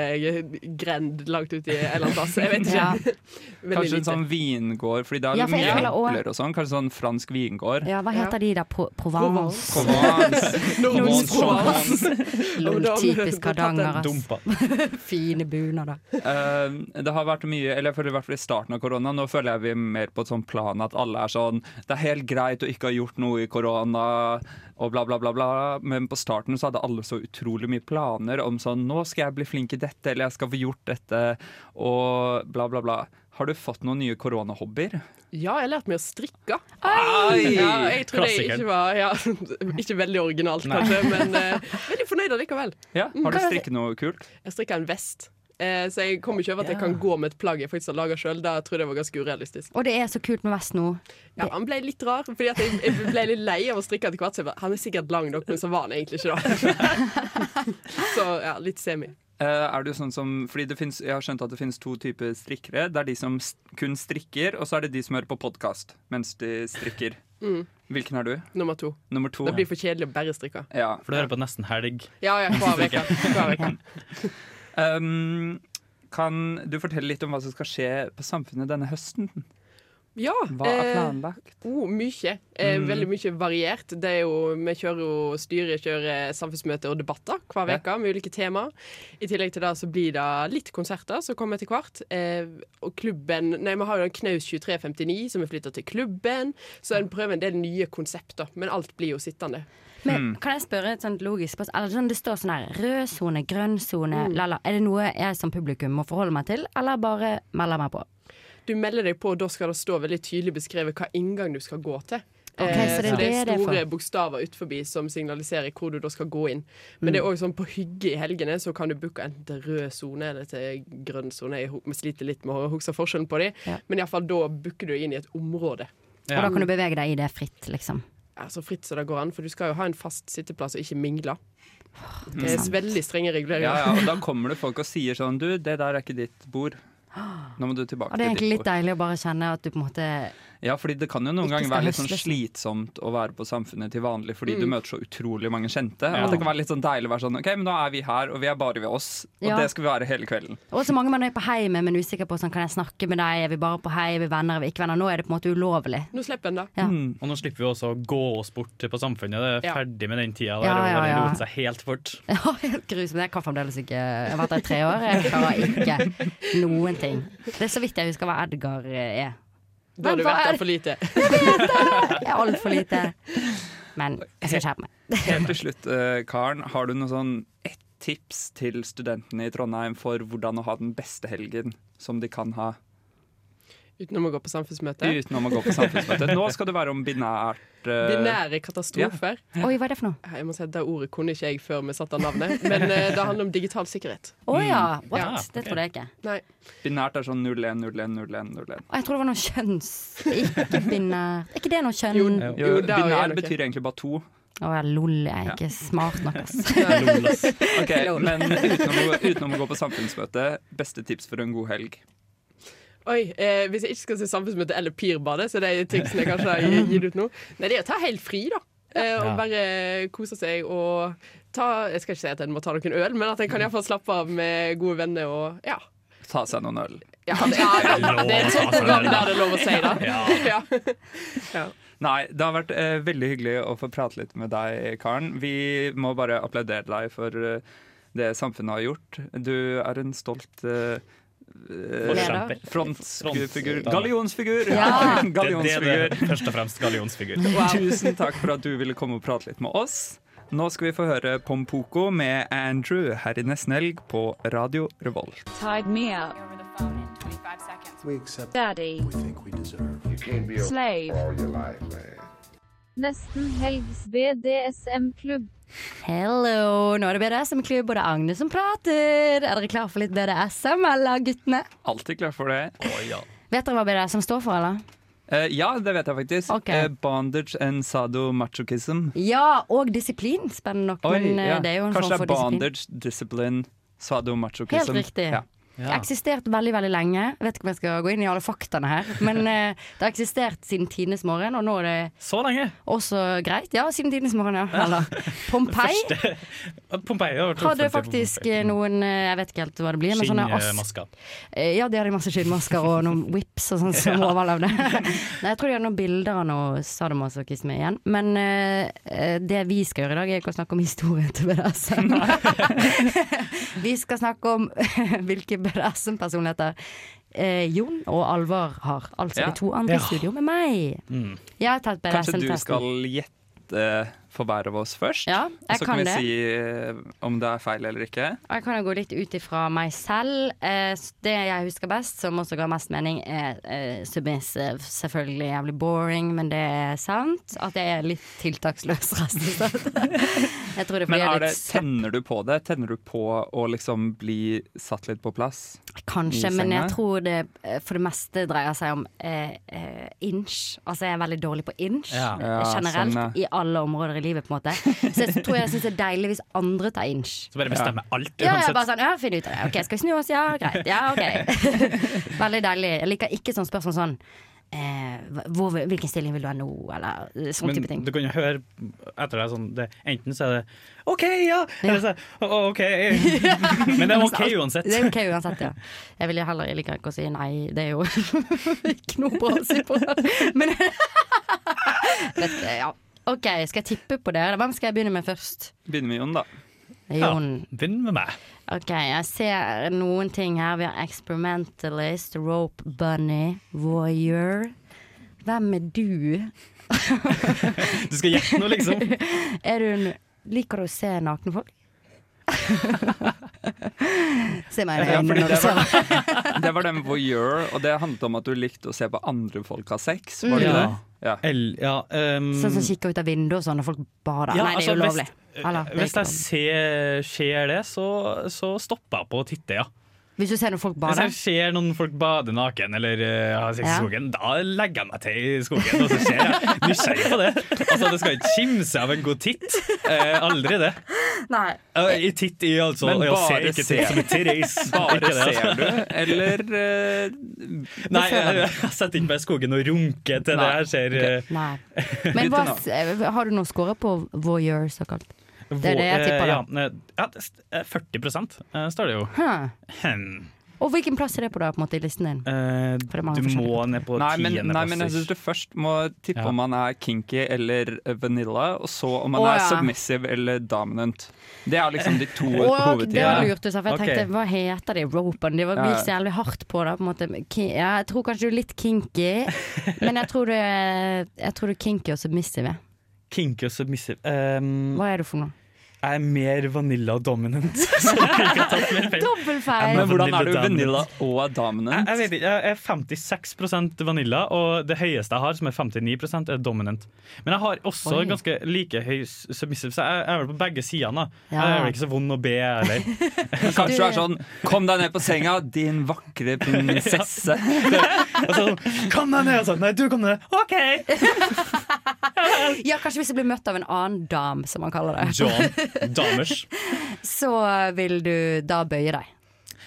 S18: eh, grend langt ut i en eller annen plass. Jeg vet
S16: Ja.
S18: ikke. Veldig
S15: Kanskje en
S18: lite.
S15: sånn vingård, fordi det er
S16: Ja, for jeg
S15: mye
S16: føler også-
S15: epler og sånn. Kanskje sånn fransk vingård.
S16: Ja, hva heter de der? Pro Provence?
S15: Provence.
S16: Nordens
S15: Provence.
S16: Lol, typisk Hardanger, ass.
S7: Dumpa.
S16: Fine bunader.
S15: Eh, det har vært mye, eller jeg føler i hvert fall i starten av korona, nå føler jeg vi er mer på et sånt plan at alle er sånn Det er helt greit å ikke ha gjort noe i korona og bla, bla, bla, bla. Men på starten så hadde alle så utrolig mye planer om sånn Nå skal jeg bli flink i dette, eller jeg skal få gjort dette, og bla, bla, bla. Har du fått noen nye koronahobbyer?
S18: Ja, jeg har lært meg å strikke.
S15: Oi!
S18: Ja, jeg tror det
S15: Klassikeren.
S18: ikke var ja, Ikke veldig originalt,
S15: Nei.
S18: kanskje, men eh, veldig fornøyd allikevel.
S15: Ja, Har du
S18: Hva-
S15: strikket noe kult?
S18: Jeg strikka en vest. Eh, så jeg kom ikke over at jeg kan gå med et plagg jeg faktisk har laga sjøl. Da tror jeg det var ganske urealistisk.
S16: Og det er så kult med vest nå.
S18: Ja, Han ble litt rar, fordi at jeg, jeg ble litt lei av å strikke etter hvert. Så jeg bare, han er sikkert lang nok, men så var han egentlig ikke det. så ja, litt semi.
S15: Eh, er du sånn som, fordi det finnes, Jeg har skjønt at det finnes to typer strikkere. Det er de som s- kun strikker, og så er det de som hører på podkast mens de strikker.
S18: Mm.
S15: Hvilken er du?
S18: Nummer to.
S15: Nummer to.
S18: Det blir for kjedelig å bare strikke.
S15: Ja.
S7: For du hører på nesten helg.
S18: Ja, ja, hver uke. Hver uke.
S15: Ehm, Um, kan du fortelle litt om hva som skal skje på Samfunnet denne høsten?
S18: Ja.
S15: Hva er planlagt?
S18: Eh, oh, mye. Eh,
S15: Mm.
S18: Veldig mye variert. Det er jo, vi kjører jo styret kjører samfunnsmøter og debatter hver
S15: Ja.
S18: uke med ulike tema. I tillegg til det så blir det litt konserter som kommer etter hvert. Eh, og klubben Nei, vi har jo en Knaus 2359 som er flytta til klubben. Så en prøver en del nye konsepter. Men alt blir jo sittende.
S16: Men kan jeg spørre et sånt logisk spørsmål? Eller sånn, det står sånn her rød sone, grønn sone, la la. Er det noe jeg som publikum må forholde meg til, eller bare melde meg på?
S18: Du melder deg på, og da skal det stå veldig tydelig beskrevet hva inngang du skal gå til.
S16: Ok,
S18: Eh,
S16: så det er
S18: det er
S16: det det er for.
S18: store bokstaver utforbi som signaliserer hvor du da skal gå inn. Men det er
S16: Mm.
S18: også sånn på hygge i helgene så kan du booke enten til rød sone eller til grønn sone. Jeg hu- Vi sliter litt med å huske forskjellen på de,
S16: Ja.
S18: men iallfall da booker du inn i et område.
S16: Og da kan du bevege deg i det fritt, liksom.
S18: Ja, så fritt som det går an, for du skal jo ha en fast sitteplass og ikke mingle.
S15: det er
S18: Det er
S15: sant.
S18: veldig strenge reguleringer.
S15: Ja, ja, og da kommer det folk og sier sånn Du, det der er ikke ditt bord. Nå må du tilbake
S16: Og Ah, det er
S15: til
S16: egentlig
S15: ditt
S16: litt
S15: bord.
S16: deilig å bare kjenne at du på en måte
S15: Ja, fordi det kan jo noen
S16: Ikke
S15: ganger
S16: skal
S15: være litt sånn
S16: høsles.
S15: slitsomt å være på Samfunnet til vanlig fordi du
S16: Mm.
S15: møter så utrolig mange kjente.
S16: Ja.
S15: At det kan være litt sånn deilig å være sånn OK, men nå er vi her, og vi er bare ved oss. Og
S16: Ja.
S15: det skal vi være hele kvelden.
S16: Og så mange man er på hei med, men usikker på sånn, kan jeg snakke med deg, er vi bare på hei, er vi venner, er vi ikke venner? Nå er det på en måte ulovlig.
S18: Nå slipper en det.
S7: Mm. Og nå slipper vi også å gå oss bort på samfunnet. Det er
S16: Ja.
S7: ferdig med den tida der.
S16: Ja, ja,
S7: og den
S16: ja.
S7: roter seg helt bort.
S16: Ja, helt grusomt. Jeg kan fremdeles ikke Jeg har vært der i tre år, jeg klarer ikke noen ting. Det er så vidt jeg husker hva Edgar eh, er.
S18: Da har du vært der for lite.
S16: Jeg er altfor lite. Men jeg skal skjerpe meg.
S15: Helt til slutt, eh, Karen, har du noe sånn ett tips til studentene i Trondheim for hvordan å ha den beste helgen som de kan ha?
S18: Utenom å gå på samfunnsmøte.
S15: Utenom å gå på samfunnsmøte. Nå skal det være om binært eh,
S18: Binære katastrofer.
S15: Ja.
S16: Oi, hva er det for noe?
S18: Jeg må si at Det ordet kunne ikke jeg før vi satte av navnet, men eh, det handler om digital sikkerhet.
S16: Å ja,
S15: Mm.
S16: what?
S18: Ja,
S16: Det trodde jeg ikke.
S18: Nei.
S15: Binært er sånn 01010101.
S16: Å, jeg tror det var noe kjønns... Ikke binær Er ikke det noe kjønn...?
S15: Jo, binær betyr egentlig bare to.
S16: Å ja, lol. Jeg er ikke smart nok, altså. ass.
S15: Lol, ass. Ok, men utenom å, utenom å gå på samfunnsmøte, beste tips for en god helg?
S18: Oi, eh, Hvis jeg ikke skal si samfunnsmøte eller pirbadet, så det er tipsene jeg kanskje har gitt ut nå. Nei, det er å ta helt fri, da. Eh, og
S15: Ja.
S18: bare kose seg og ta Jeg skal ikke si at en må ta noen øl, men at en kan iallfall slappe av med gode venner og ja.
S15: Ta seg noen øl.
S18: ja, det, ja det er altså. et sånt program der det er lov å si det.
S15: Ja.
S18: Ja.
S15: Nei, det har vært eh, veldig hyggelig å få prate litt med deg, Karen. Vi må bare applaudere deg for eh, det samfunnet har gjort. Du er en stolt eh, eh,
S7: Forkjemper.
S15: Frontfigur.
S7: Front-
S15: Gallionsfigur!
S7: Ja. Det er
S15: Gallionsfigur.
S7: det det- først og fremst gallionsfigur.
S15: Tusen takk for at du ville komme og prate litt med oss. Nå skal vi få høre Pompoko med Andrew her i Nesten Helg på Radio Revolt.
S5: Tied me up. Daddy. Slave. Nesten helgs BDSM-klubb.
S16: Hello! Nå er det BDSM-klubb, og det er Agnes som prater. Er dere klar for litt BDSM, eller guttene?
S15: Alltid klar for det.
S16: Vet dere hva BDSM står for, eller?
S15: Eh, ja, det vet jeg faktisk.
S16: Ok.
S15: Eh, bondage and sadomasochism.
S16: Ja, og disiplin, spennende nok.
S15: Oi,
S16: men eh,
S15: ja.
S16: det er jo en
S15: Kanskje
S16: form
S15: det er
S16: for disiplin.
S15: bondage, discipline, sadomasochism.
S16: Helt riktig.
S15: Ja.
S16: Det har eksistert veldig veldig lenge. Jeg vet ikke om jeg skal gå inn i alle faktaene her. Men eh, det har eksistert siden tidenes morgen, og nå er det
S7: Så lenge!
S16: også greit. Ja, siden tidenes morgen, ja. Eller Pompeii
S7: Pompeii har vært
S16: hadde
S7: offentlig på
S16: faktisk
S7: Pompeii.
S16: eh, noen eh, Jeg vet ikke helt hva det blir. men sånne ass-
S7: Skinnmasker.
S16: Eh, Ja, de hadde masse skinnmasker og noen whips og sånn som
S7: Ja.
S16: overlevde. Nei, jeg tror de hadde noen bilder av noe sadomasochisme igjen. Men eh, eh, det vi skal gjøre i dag, er ikke å snakke om historien til BDSM. vi skal snakke om hvilke BDSM-personligheter eh, Jon og Alvar har. Altså
S15: Ja.
S16: de to andre
S15: Ja.
S16: i studio med meg.
S15: Mm.
S16: Jeg har tatt
S15: Kanskje du skal
S16: BDSM-testen.
S15: gjette for hver av oss først?
S16: Ja,
S15: Og
S16: jeg
S15: så kan
S16: kan
S15: vi
S16: det.
S15: si eh, om det er feil eller ikke.
S16: Og Jeg kan jo gå litt ut ifra meg selv. Eh, s- Det jeg husker best, som også ga mest mening, er eh, submissive. Selvfølgelig jævlig boring, men det er sant. At jeg er litt tiltaksløs resten av stedet. Jeg tror det er fordi
S15: Men
S16: jeg
S15: er
S16: er
S15: det,
S16: litt slapp,
S15: tenner du på det? Tenner du på å liksom bli satt litt på plass?
S16: kanskje.
S15: i
S16: Men jeg
S15: senga?
S16: tror det eh, for det meste dreier seg om eh, eh, inch. Altså jeg er veldig dårlig på inch
S15: Ja.
S16: eh,
S15: Ja,
S16: generelt.
S15: sånn,
S16: I alle områder i livet, på en måte. Så jeg tror jeg syns det er deilig hvis andre tar inch.
S7: Så bare bestemmer alt
S16: Ja, ja, bare sånn, ja, finn ut av det. Ok, skal vi snu oss? Ja, greit. Ja, ok. Veldig deilig. Jeg liker ikke sånne spørsmål sånn eh, hvor, vil- Hvilken stilling vil du ha nå, eller sånn
S7: Men
S16: type ting.
S7: du kan jo høre etter deg sånn det, Enten så er det OK, ja! Eller så er det «Å, OK. Men det er OK uansett.
S16: altså, Det er ok uansett, ja. Jeg ville heller jeg liker ikke å si nei, det er jo ikke noe bra å si på det. Men Vet du, ja. OK, skal jeg tippe på dere? Hvem skal jeg begynne med først?
S15: Begynner med Jon, da.
S16: Jon.
S7: Ja, begynn med meg.
S16: OK, jeg ser noen ting her. Vi har experimentalist, rope bunny, voyeur. Hvem er du?
S7: Du skal gjette noe, liksom.
S16: Er du en Liker du å se nakne folk? se meg i
S15: Ja,
S16: øynene
S15: fordi
S16: når du
S15: det,
S16: ser meg.
S15: var, det var den voyeur, og det handlet om at du likte å se på andre folk ha sex, var det
S7: Mm.
S15: ikke
S7: Ja. ehm,
S15: det? Ja.
S16: Sånn som kikker ut av vinduet og sånn, og folk bader.
S7: Ja,
S16: Nei, det er
S7: altså,
S16: ulovlig.
S7: hvis-
S16: Eller, det er
S7: Hvis
S16: ikke
S7: jeg ser, ser det, så, så stopper jeg på å titte, ja.
S16: lov. Hvis du ser noen folk
S7: Hvis
S16: bade
S7: jeg ser noen folk bade naken eller eh, har sex i
S16: Ja.
S7: skogen, da legger jeg meg til i skogen, og så ser jeg nysgjerrig på det. Altså, det skal ikke kimse av en god titt. Eh, aldri det.
S16: Nei.
S7: Eh, I titt i, altså.
S15: Men
S7: og jeg
S15: bare
S7: ser ikke titt
S15: ser-
S7: som en tireis.
S15: Bare
S7: Ikke
S16: altså.
S7: det, altså.
S15: ser du, eller
S7: Nei,
S15: føler
S7: jeg,
S15: jeg.
S7: jeg setter ikke meg i skogen og runker til det
S15: Nei,
S7: jeg ser. eh,
S16: Nei. Men hva, eh, har du noe score på voyeur, såkalt? Det er det jeg
S7: hvor-
S16: tipper, da.
S7: eh, Ja, ja, det st- eh, 40 eh, står det jo.
S16: Hæ.
S7: Hm.
S16: Og hvilken plass er det på da, på en måte, i listen din?
S7: Eh,
S16: For det er mange
S7: du
S16: forskjellige.
S7: må ned på
S15: Nei, men, nei, men jeg
S7: tiendeplasser.
S15: syns du først må tippe
S7: Ja.
S15: om man er kinky eller vanilla, og så om man
S16: Å,
S15: er
S16: ja.
S15: submissive eller dominant. Det er liksom de to
S16: Og det var
S15: hovedtingene.
S16: lurt, du sa, for jeg
S15: Ok.
S16: tenkte hva heter de ropene? De var
S15: Ja, ja.
S16: gikk så jævlig hardt på det. På en måte. Ki- Ja, jeg tror kanskje du er litt kinky, men jeg tror du er, jeg tror du er kinky og submissive.
S7: Kinky og submissive. Um,
S16: Hva er du for noe?
S7: Jeg er mer vanilla og dominant. Så jeg kunne ikke ha tatt mer feil.
S16: Dobbeltfeil!
S15: Men hvordan er du
S7: Vanilla
S15: vanilla og dominant?
S7: Jeg, jeg vet ikke, jeg er 56 vanilla, og det høyeste jeg har, som er 59 er dominant. Men jeg har også
S15: Oi.
S7: ganske like høy s- submissive, så jeg jeg er vel på begge sidene. da.
S15: Ja.
S7: Jeg er vel ikke så vond å be, jeg heller.
S15: Men Kanskje du er sånn Kom deg ned på senga, din vakre prinsesse.
S7: Og så sånn, kom deg ned! Og sånn, nei, du kom ned! OK!
S16: Ja, kanskje hvis du blir møtt av en annen dam, som man kaller det.
S7: John Damers.
S16: Så vil du da bøye deg.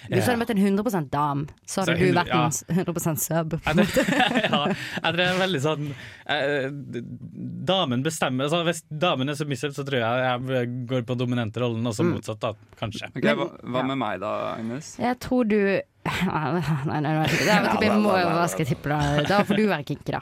S16: Hvis du
S7: Ja.
S16: hadde møtt en 100 dam, så
S7: Så
S16: hadde du
S7: 100
S16: vært en 100 sub. på en måte.
S7: ja, jeg tror jeg er veldig sånn eh, d- Damen bestemmer altså, Hvis damen er submissive, så tror jeg jeg går på dominante rollen, og så motsatt, da, kanskje.
S15: Ok, hva, hva med meg da, Agnes?
S16: Jeg tror du Nei, nei, nei, nei. Det er vel typ- jeg må- Hva skal jeg tippe, da? Da får du være kinky, da.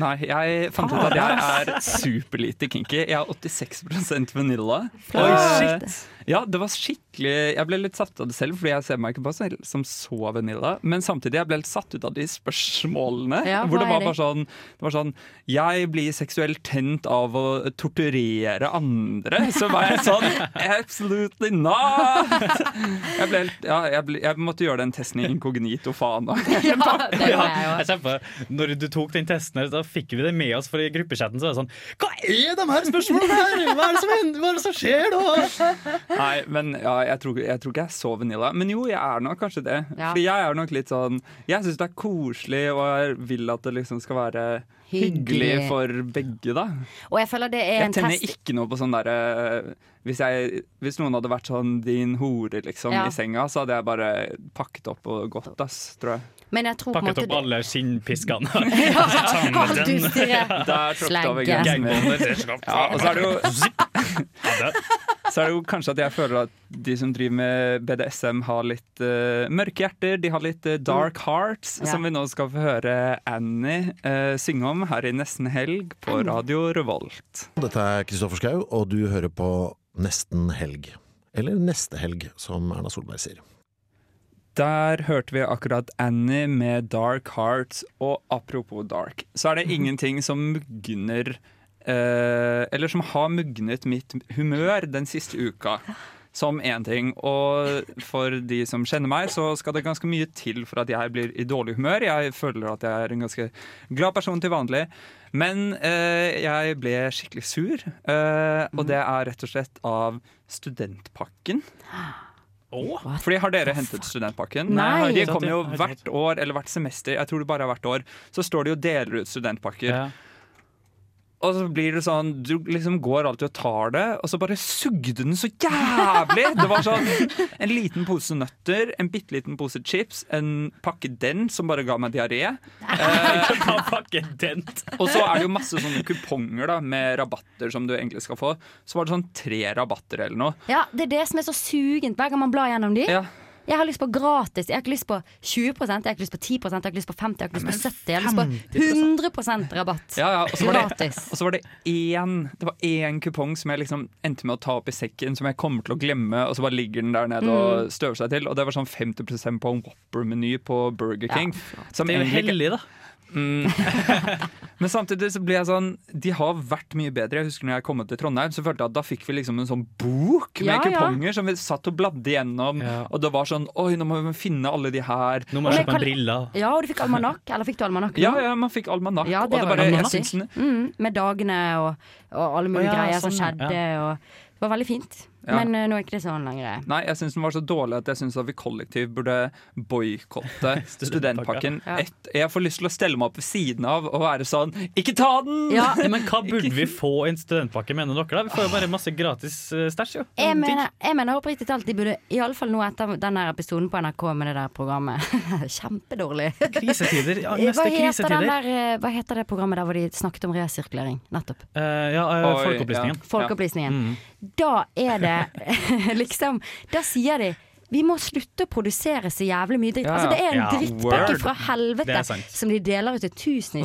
S15: Nei, jeg fant ut at
S16: Ah.
S15: jeg er superlite kinky. Jeg er 86 vanilla.
S16: Flott.
S15: Eh, Ja, det var skikkelig Jeg ble litt satt ut av det selv, fordi jeg ser meg ikke på selv som så vanilla. Men samtidig, jeg ble litt satt ut av de spørsmålene.
S16: Ja,
S15: hvor det
S16: hva er
S15: var
S16: de?
S15: bare sånn, det var sånn Jeg blir seksuelt tent av å torturere andre. Så var jeg sånn Absolutely not! Jeg, ble, helt- ja, jeg, ble, jeg måtte gjøre den testen i inkognito, faen.
S7: Ja, jeg kjemper. Når du tok den testen, her, da fikk vi det med oss, for i gruppechatten så er det sånn Hva er de her spørsmålene her?! Hva er det som, hender? Hva er det som skjer nå?!
S15: Nei, men ja, jeg, tror, jeg tror ikke jeg er så vanilla. Men jo, jeg er nok kanskje det.
S16: Ja.
S15: Fordi jeg er nok litt sånn Jeg syns det er koselig, og jeg vil at det liksom skal være hyggelig,
S16: Hyggelig.
S15: for begge, da.
S16: Og jeg føler det er
S15: Jeg
S16: en
S15: tenner
S16: test
S15: ikke noe på sånn derre hvis, jeg- hvis noen hadde vært sånn din hore, liksom,
S16: Ja.
S15: i senga, så hadde jeg bare pakket opp og gått, ass, tror jeg.
S16: Men jeg tror på en
S7: Pakket
S16: måte
S7: opp
S16: det-
S7: alle skinnpiskene. Sånn,
S16: Alt du stirrer.
S15: Der tråkket jeg over
S16: Slegge.
S15: grensen min.
S7: Gangbåndet, det skal opp.
S15: Ja, og så er det jo Så er det jo kanskje at jeg føler at de som driver med BDSM, har litt eh, mørke hjerter. De har litt eh, dark hearts,
S16: Ja.
S15: som vi nå skal få høre Annie eh, synge om her i Nesten helg på Radio Revolt.
S21: Dette er Kristoffer Schau, og du hører på Nesten helg. Eller Neste helg, som Erna Solberg sier.
S15: Der hørte vi akkurat Annie med Dark Hearts, og apropos dark, så er det ingenting som mugner eh, Eller som har mugnet mitt humør den siste uka, som én ting. Og for de som kjenner meg, så skal det ganske mye til for at jeg blir i dårlig humør. Jeg føler at jeg er en ganske glad person til vanlig. Men eh, jeg ble skikkelig sur, eh, og det er rett og slett av studentpakken. Fordi Har dere hentet studentpakken?
S7: Nei.
S15: De kommer jo hvert år, eller hvert semester. Jeg tror det bare er hvert år. Så står de og deler ut studentpakker. Og så blir det sånn, du liksom går alltid og tar det, og så bare sugde den så jævlig! Det var sånn en liten pose nøtter, en bitte liten pose chips, en pakke dent som bare ga meg diaré.
S7: pakke dent?
S15: Og så er det jo masse sånne kuponger da, med rabatter som du egentlig skal få. Så var det sånn tre rabatter eller noe.
S16: Ja, Det er det som er så sugent hver gang man blar gjennom de.
S15: Ja.
S16: Jeg har lyst på gratis. Jeg har ikke lyst på 20 jeg har ikke lyst på 10 jeg har ikke lyst på 50 jeg har ikke lyst på 70 Jeg har lyst på 100 rabatt.
S15: Ja, ja, og så var det, og så var det én Det var én kupong som jeg liksom endte med å ta opp i sekken, som jeg kommer til å glemme, og så bare ligger den der nede og støver seg til. Og det var sånn 50 på en Whopper-meny på Burger King. som
S7: Det er jo
S15: egentlig ikke-
S7: hellig, da.
S15: Men samtidig så blir jeg sånn De har vært mye bedre. Jeg husker når jeg kom til Trondheim, så følte jeg at da fikk vi liksom en sånn bok med
S16: Ja, ja.
S15: kuponger som vi satt og bladde gjennom, og det var sånn Oi, nå må vi finne alle de her.
S7: Nå må jeg kjøpe meg briller.
S16: Ja, og du fikk almanakk. Eller fikk du almanakk? nå?
S15: Ja, ja, man fikk almanakk.
S16: Ja,
S15: og
S16: det
S15: det
S16: var
S15: bare,
S16: det
S15: jeg
S16: nyttig.
S15: syns-
S16: mm, Med dagene og, og alle mulige
S15: Å ja,
S16: greier som
S15: sånn,
S16: skjedde. Og det var veldig fint.
S15: Ja.
S16: Men eh, nå er ikke det sånn lenger.
S15: Nei, jeg syns den var så dårlig at jeg syns at vi kollektiv burde boikotte studentpakken.
S16: Ja.
S15: Ett, jeg får lyst til å stelle meg opp ved siden av og være sånn Ikke ta den!
S7: Nei, Men hva burde vi få i en studentpakke, mener dere? da? Vi får jo bare masse gratis eh, stæsj, jo.
S16: Jeg mener, jeg mener oppriktig talt de burde, iallfall nå etter den der episoden på NRK med det der programmet Kjempedårlig.
S7: Krisetider. Ja,
S16: hva,
S7: neste
S16: heter den
S7: krisetider.
S16: der, eh, hva heter det programmet der hvor de snakket om resirkulering? Nettopp.
S7: Eh, ja, eh,
S15: Oi,
S7: Folkeopplysningen.
S15: ja.
S16: Folkeopplysningen.
S7: Mm.
S16: Da er det liksom Da sier de vi må slutte å produsere så jævlig mye dritt.
S15: Ja,
S16: Altså, det er en
S15: ja.
S16: drittpakke
S15: Word.
S16: fra
S15: Det
S16: helvete
S15: er sant.
S16: som de deler ut til tusenvis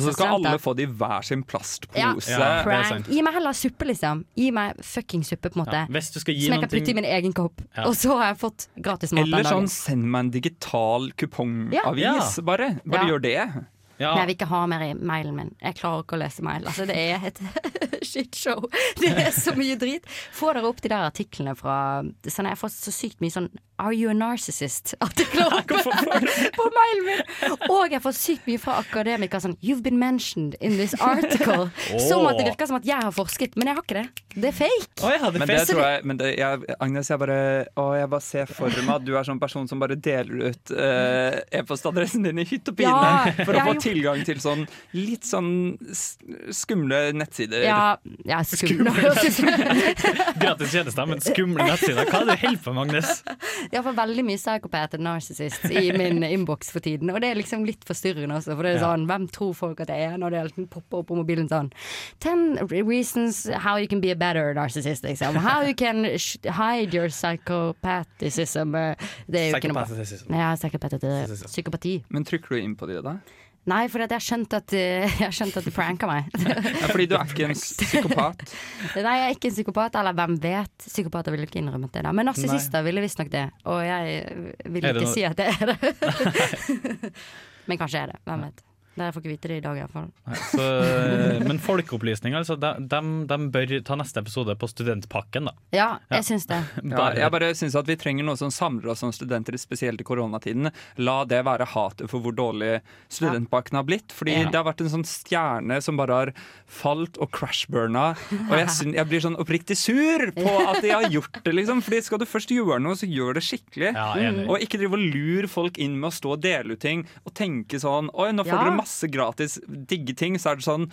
S15: Og
S16: av
S15: så skal alle
S16: studenter.
S15: få det i hver sin plastpose.
S16: Ja, prank. Gi meg heller suppe, liksom. Gi meg fucking suppe, på en måte.
S15: Ja, hvis du skal gi
S16: som jeg kan
S15: noen ting-
S16: putte i min egen kopp.
S15: Ja.
S16: Og så har jeg fått gratis mat
S15: Eller
S16: den
S15: sånn
S16: dagen.
S15: send meg en digital kupongavis,
S16: Ja.
S15: bare. Bare
S16: Ja.
S15: gjør det.
S16: Nei, jeg vil ikke ha mer i mailen min. Jeg klarer ikke å lese mail. Altså, det er et shitshow. Det er så mye drit. Få dere opp de der artiklene fra sånn, Jeg får så sykt mye sånn Are you a narcissist-artikler på mailen min! Og jeg får sykt mye fra akademikere sånn You've been mentioned in this article. Som at det virker som at jeg har forsket, men jeg har ikke det. Det er fake.
S15: men det tror jeg, men det, jeg Agnes, jeg bare, å, jeg bare ser for meg at du er sånn person som bare deler ut eh, e-postadressen din i hytt og pine
S16: Ja,
S15: for å
S16: jeg
S15: få
S16: gjorde-
S15: tilgang til sånn litt sånn s- skumle nettsider.
S16: Ja, ja skumle.
S7: Gratis tjenester, men skumle nettsider. Hva er det du holder på med, Agnes?
S16: Jeg får veldig mye psykopat og narcissist i min innboks for tiden. Og det er liksom litt forstyrrende også, for det er
S7: Ja.
S16: sånn Hvem tror folk at jeg er når det hele tiden popper opp på mobilen sånn Ten reasons how you can be a better narcissist, liksom. How you can sh- hide your psychopathism. Eh, Det er jo ikke noe bra.
S15: Psychopathism.
S16: Ja, psychopathism. Psykopati.
S15: Men trykker du inn på de da?
S16: Nei, for at jeg har skjønt at, eh, jeg har skjønt at de pranker meg.
S15: Ja, fordi du er ikke en psykopat.
S16: Nei, jeg er ikke en psykopat, eller hvem vet. Psykopater ville ikke innrømmet det. da Men narsissister ville visstnok det, og jeg vil
S7: Er det
S16: ikke
S7: noe-
S16: si at det er det. Men kanskje er det. Hvem vet. Dere får ikke vite det i dag, iallfall.
S7: Nei, så, eh, men folkeopplysning, altså. De, dem- dem bør ta neste episode på studentpakken, da.
S16: Ja, jeg syns det.
S15: Ja, jeg bare synes at Vi trenger noe som samler oss som studenter, spesielt i koronatiden. La det være hatet for hvor dårlig studentpakken har blitt. Fordi
S7: Ja.
S15: det har vært en sånn stjerne som bare har falt og crashburna. Og jeg, syn- jeg blir sånn oppriktig sur på at de har gjort det, liksom. Fordi skal du først gjøre noe, så gjør det skikkelig.
S16: Mm.
S7: enig.
S15: og ikke drive og lure folk inn med å stå og dele ut ting og tenke sånn Oi, nå får
S16: Ja.
S15: dere masse gratis digge ting. Så er det sånn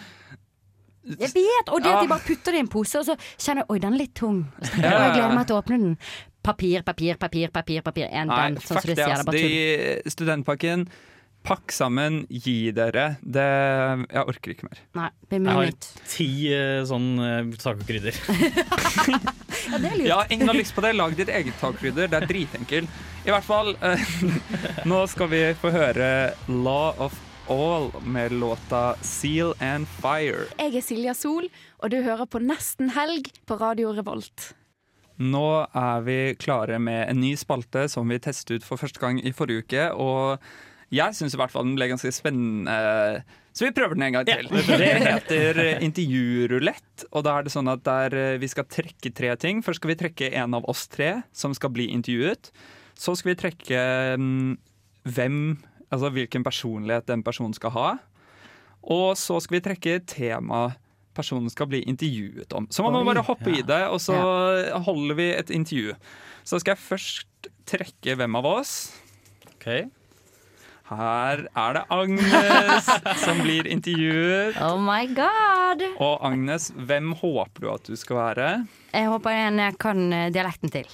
S16: Jeg vet! Og det at
S15: Ja.
S16: de bare putter det i en pose, og så kjenner jeg oi, den er litt tung. Og så tenker jeg,
S15: Ja.
S16: «Å, jeg gleder meg til å åpne den. Papir, papir, papir, papir. papir En
S15: Nei,
S16: den, sånn
S15: fuck
S16: som du
S15: det,
S16: sier. Det er
S15: altså.
S16: bare tull.
S15: De, studentpakken, pakk sammen, gi dere. Det, jeg orker ikke mer.
S16: Nei, det blir
S7: Jeg
S16: mye
S7: har
S16: nytt.
S7: ti eh, sånn eh, tacokrydder.
S16: Ja, det er lurt.
S15: Ja, ingen har lyst på det. Lag ditt eget takkrydder. Det er dritenkelt. I hvert fall, eh, nå skal vi få høre Law of All med låta Seal and Fire.
S5: Jeg er Silja Sol, og du hører på Nesten helg på Radio Revolt.
S15: Nå er vi klare med en ny spalte som vi testet ut for første gang i forrige uke. Og jeg syns i hvert fall den ble ganske spennende. Så vi prøver den en gang til. Det heter intervjurulett. Og da er det sånn at der eh, vi skal trekke tre ting. Først skal vi trekke en av oss tre som skal bli intervjuet. Så skal vi trekke mm, hvem, altså hvilken personlighet den personen skal ha. Og så skal vi trekke tema personen skal bli intervjuet om. Så man må
S7: Oi,
S15: bare hoppe
S7: ja.
S15: i det, og så holder vi et intervju. Så skal jeg først trekke hvem av oss. Her er det Agnes som blir intervjuet.
S16: Oh my god! glad.
S15: Og Agnes, hvem håper du at du skal være?
S16: Jeg håper en jeg kan dialekten til.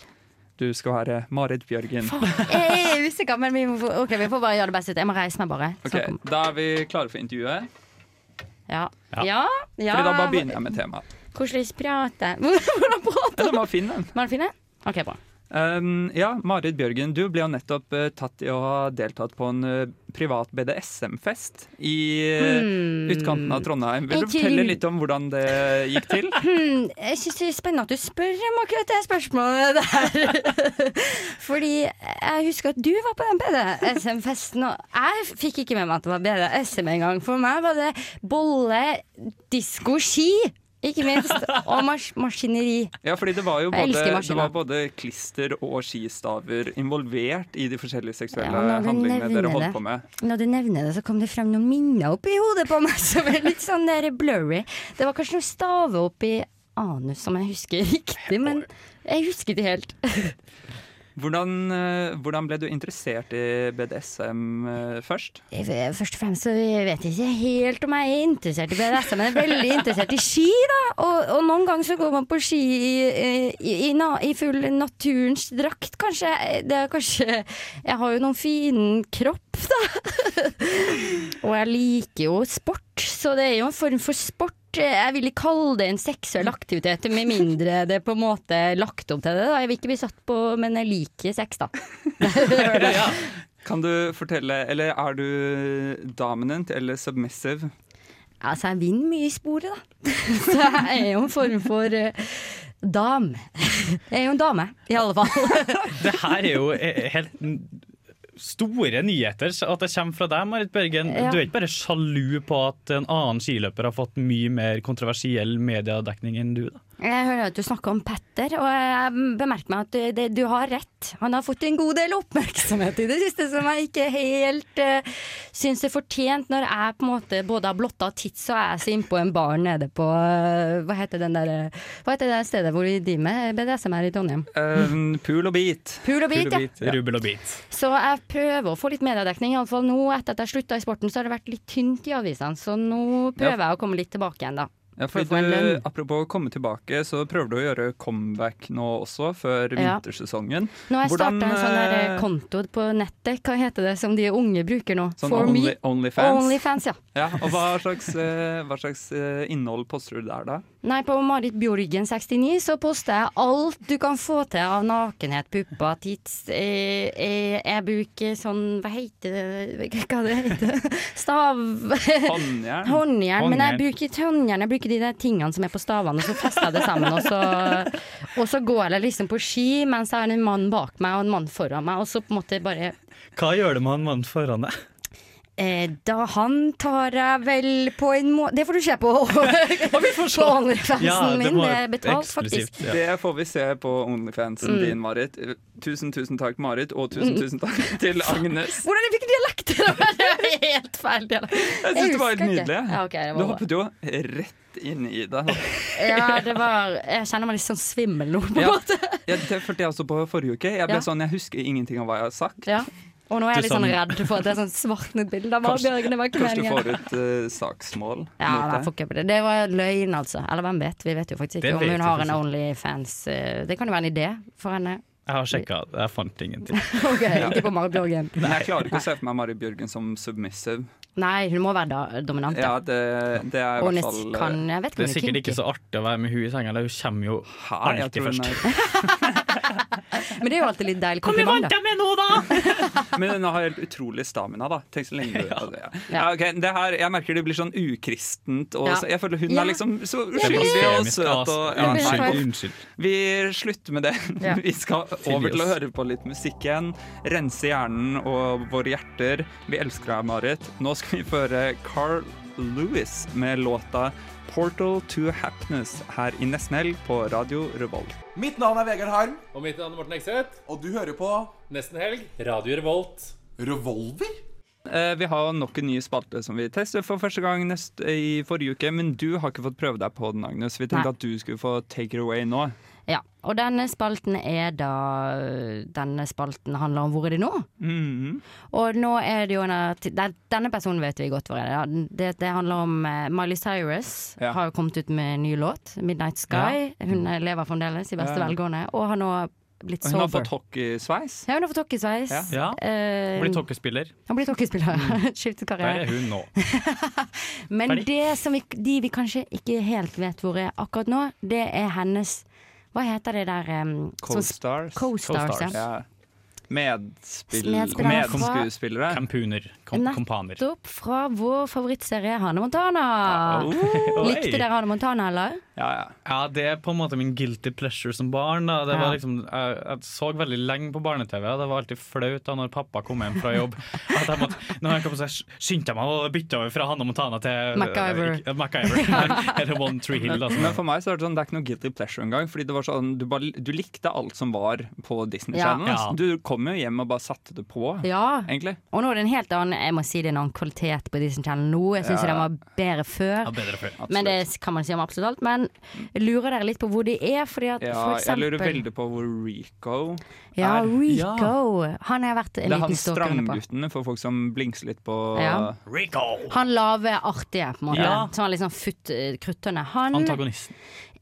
S15: Du skal være Marit Bjørgen.
S16: Jeg er usikker, men vi får, ok, vi får bare gjøre det best ut. Jeg må reise meg, bare.
S15: Ok, Da er vi klare for intervjuet.
S16: Ja. Ja. ja. ja.
S15: Fordi da bare begynner jeg med temaet.
S16: Hvordan prate? Hvordan prate?
S15: Eller må finne den.
S16: Må du finne? Ok, bra.
S15: Um, ja, Marit Bjørgen, du ble jo nettopp uh, tatt i å ha deltatt på en uh, privat BDSM-fest i uh,
S16: Hmm.
S15: utkanten av Trondheim. Vil du
S16: Ikke-
S15: fortelle litt om hvordan det gikk til?
S16: Hmm, jeg synes det er spennende at du spør om akkurat det spørsmålet der. Fordi jeg husker at du var på den BDSM-festen, og jeg fikk ikke med meg at det var BDSM engang. For meg var det bolle, disko, ski, ikke minst, og mas maskineri.
S15: Ja, fordi det var jo
S16: Jeg
S15: både,
S16: elsker
S15: det
S16: maskiner.
S15: var både klister og skistaver involvert i de forskjellige seksuelle
S16: Ja, når du
S15: handlingene dere
S16: nevner
S15: holdt
S16: det.
S15: på med.
S16: Når du nevner det, så kom det frem noen minner opp i hodet på meg som er litt sånn der blurry. Det var kanskje noen staver oppi anus som jeg husker riktig, men jeg husker ikke helt.
S15: Hvordan, eh, hvordan ble du interessert i BDSM eh, først?
S16: Jeg- Først og fremst så vet jeg ikke helt om jeg er interessert i BDSM, men jeg er veldig interessert i ski, da. Og, og noen ganger så går man på ski i, i, i, na- i full naturens drakt, kanskje. Det er kanskje Jeg har jo noen fin kropp, da. Og jeg liker jo sport, så det er jo en form for sport. Jeg vil ikke kalle det en seksuell aktivitet, med mindre det er på en måte er lagt opp til det. da Jeg vil ikke bli satt på, men jeg liker sex, da.
S15: Kan du fortelle, eller er du dominant eller submissive?
S16: Altså, jeg vinner mye i sporet, da. Så jeg er jo en form for eh, dam. Jeg er jo en dame, i alle fall.
S7: Det her er jo eh, helt n- store nyheter så at det kommer fra deg, Marit Børgen.
S16: Ja.
S7: Du er ikke bare sjalu på at en annen skiløper har fått mye mer kontroversiell mediedekning enn du, da?
S16: Jeg hører at du snakker om Petter, og jeg bemerker meg at du, det, du har rett. Han har fått en god del oppmerksomhet i det siste som jeg ikke helt uh, syns er fortjent, når jeg på en måte både har blotta tits og er så innpå en bar nede på eh, Hva heter den der, eh, Hva heter det stedet hvor vi driver med BDSM her i Trondheim?
S15: Um, pool og beat.
S16: Pool og beat, ja.
S7: Rubbel og bit.
S16: Så jeg prøver å få litt mediedekning. Iallfall nå etter at jeg slutta i sporten, så har det vært litt tynt i avisene. Så nå prøver jeg å komme litt tilbake igjen, da.
S15: Ja,
S16: For
S15: fordi
S16: å få en
S15: du,
S16: lønn.
S15: apropos å komme tilbake, så prøver du å gjøre comeback nå også, før
S16: Ja.
S15: vintersesongen.
S16: Nå har jeg
S15: Hvordan,
S16: starta en sånn der eh,
S15: eh,
S16: konto på nettet, hva heter det som de unge bruker nå?
S15: Sånn
S16: For
S15: only,
S16: me?
S15: Onlyfans.
S16: Onlyfans, ja.
S15: Ja, og hva slags, eh, hva slags eh, innhold poster du der, da?
S16: Nei, på Marit Bjørgen 69 så poster jeg alt du kan få til av nakenhet, pupper, tits. Eh, eh, jeg bruker sånn, hva heter det, hva det heter, stav...
S15: Håndjern?
S16: Håndjern, men jeg
S15: Håndjern.
S16: bruker ikke håndjern, jeg bruker de der tingene som er på stavene, og så fester jeg det sammen, og så, og så går jeg liksom på ski mens jeg har en mann bak meg og en mann foran meg, og så på en måte bare
S7: Hva gjør det med han mannen foran deg?
S16: Eh, da han tar jeg vel på en måte Det får du se på på OnlyFansen
S15: Ja, det
S16: min.
S15: må
S16: Det
S15: være
S16: er betalt,
S15: eksklusivt,
S16: faktisk.
S15: ja. Det får vi se på Onlyfansen
S16: Mm.
S15: din, Marit. Eh, Tusen, tusen takk, Marit, og tusen,
S16: Mm.
S15: tusen takk til Agnes.
S16: Hvordan jeg fikk dialekter! Det var helt feil dialekt.
S15: Jeg syns det var helt
S16: husker ikke.
S15: nydelig.
S16: Ja, ok, det
S15: du
S16: var bra.
S15: hoppet jo rett inn i det.
S16: ja, det var Jeg kjenner meg litt sånn svimmel nå, på en
S15: Ja.
S16: måte.
S15: Ja, det følte jeg også på forrige uke. Jeg ble
S16: Ja.
S15: sånn, jeg husker ingenting av hva jeg har sagt.
S16: Ja. Og nå er jeg
S15: Du
S16: litt sånn
S15: sånn-
S16: redd for at det er sånn svartnet bilde av
S15: Kanskje-
S16: Bjørgen. Det var ikke
S15: Kanskje du får
S16: meningen.
S15: ut eh, saksmål
S16: Ja, nei,
S15: mot
S16: fuck up det. det var løgn, altså. Eller hvem vet? Vi vet jo faktisk
S7: Det
S16: ikke om
S7: vet
S16: hun
S7: vi
S16: har en
S7: faktisk
S16: Onlyfans. eh, Det kan jo være en idé for henne.
S7: Jeg har sjekka, jeg fant ingenting.
S16: Ok, ikke på Marit Bjørgen.
S15: Men jeg klarer ikke å se for meg Marit Bjørgen som submissive.
S16: Nei, hun må være da- dominant. da.
S15: Ja, det, det er i hvert
S16: Og nest-
S15: fall eh,
S16: kan- jeg vet ikke om
S7: eh, Det er
S16: hun er
S7: sikkert
S16: kinky.
S7: ikke så artig å være med hun i senga, eller hun kommer jo
S15: jeg
S7: alltid
S15: tror hun
S7: først.
S16: Men det er jo alltid litt deilig kompliment, da.
S7: med nå, da!
S15: Men hun har helt utrolig stamina, da. Tenk så lenge du ja. Ja. ok, det her, Jeg merker det blir sånn ukristent. Og
S16: Ja.
S15: så, jeg føler hun
S16: Ja.
S15: er liksom så
S16: Jeg blir-
S15: uskyldig og
S7: altså.
S15: søt. Og, ja,
S7: Unnskyld,
S15: nei, uff.
S7: unnskyld.
S15: vi slutter med det.
S7: Ja.
S15: Vi skal over til å
S7: oss.
S15: høre på litt musikk igjen. Rense hjernen og våre hjerter. Vi elsker deg, Marit. Nå skal vi få høre Carl Lewis med låta 'Portal to Happiness' her i nesten helg på Radio Revolt.
S22: Mitt navn er Vegard Harm. Og mitt navn er Morten Ekseth. Og du hører på Nesten Helg. Radio Revolt. Revolver?
S15: Eh, Vi har nok en ny spalte som vi tester for første gang eh, nest, i forrige uke. Men du har ikke fått prøve deg på den, Agnes. Vi tenkte
S16: Nei.
S15: at du skulle få take it away nå.
S16: Ja, og denne spalten er da Denne spalten handler om hvor er de nå?
S15: Mhm.
S16: Og nå er det jo en av- den- Denne personen vet vi godt hvor er. det, ja. Det, det handler om eh, Miley Cyrus
S17: Ja.
S16: har jo kommet ut med en ny låt, 'Midnight Sky'. Hun eh, lever fremdeles i beste
S15: Ja.
S16: velgående, og har nå blitt
S15: Og hun har
S16: sober.
S15: fått hockeysveis.
S16: Ja, hun har fått hockeysveis.
S7: Ja.
S16: Eh,
S7: Blitt hockeyspiller.
S16: hun blir hockeyspiller. Skiftet
S7: Der
S16: karriere.
S7: er hun nå.
S16: Men
S7: Ferdig.
S16: det som vi, de vi kanskje ikke helt vet hvor er akkurat nå, det er hennes Hva heter det der um, som-
S15: Co-stars.
S16: Co-stars, ja.
S15: Ja. Medspill...
S16: Medspillere fra-
S15: Medskuespillere.
S7: Kampuner.
S16: Nettopp fra vår favorittserie Hanne Montana.
S7: Oh, oi.
S16: Likte dere Hanne Montana, eller?
S15: Ja, ja.
S7: det er på en måte min guilty pleasure som barn. Da. Det
S16: Ja.
S7: var liksom, jeg, jeg så veldig lenge på barne-TV, og det var alltid flaut da når pappa kom hjem fra jobb. At jeg måtte, når han kom så jeg skyndte jeg meg å bytte over fra Hanne Montana til
S15: MacGyver.
S7: Eh, MacGyver. Eller One Tree Hill. da, som-
S15: Men for meg så er det sånn, det er ikke noe guilty pleasure engang. Fordi det var sånn, du, bare, du likte alt som var på Disney
S16: Ja.
S15: Channel.
S16: Ja.
S15: Altså. Du kom jo hjem og bare satte det på,
S16: Ja.
S15: egentlig.
S16: Og nå er det en helt annen Jeg må si det er en annen kvalitet på Disney Channel nå. Jeg syns
S15: Ja.
S16: den var bedre før. Men det kan man si om absolutt alt. Men lurer dere litt på hvor de er? Fordi at
S15: ja,
S16: for
S15: jeg
S16: eksempel
S15: lurer veldig på hvor Rico
S16: Ja,
S15: er.
S16: Rico. Han har jeg vært
S15: Det
S16: en
S15: er han
S16: liten stalker inne på.
S15: strandgutten for folk som blingser litt på
S16: Ja.
S7: Rico!
S16: Han lave, artige, på en måte.
S15: Ja.
S16: Som har litt sånn futt, kruttønne. Han
S7: Antagonisten.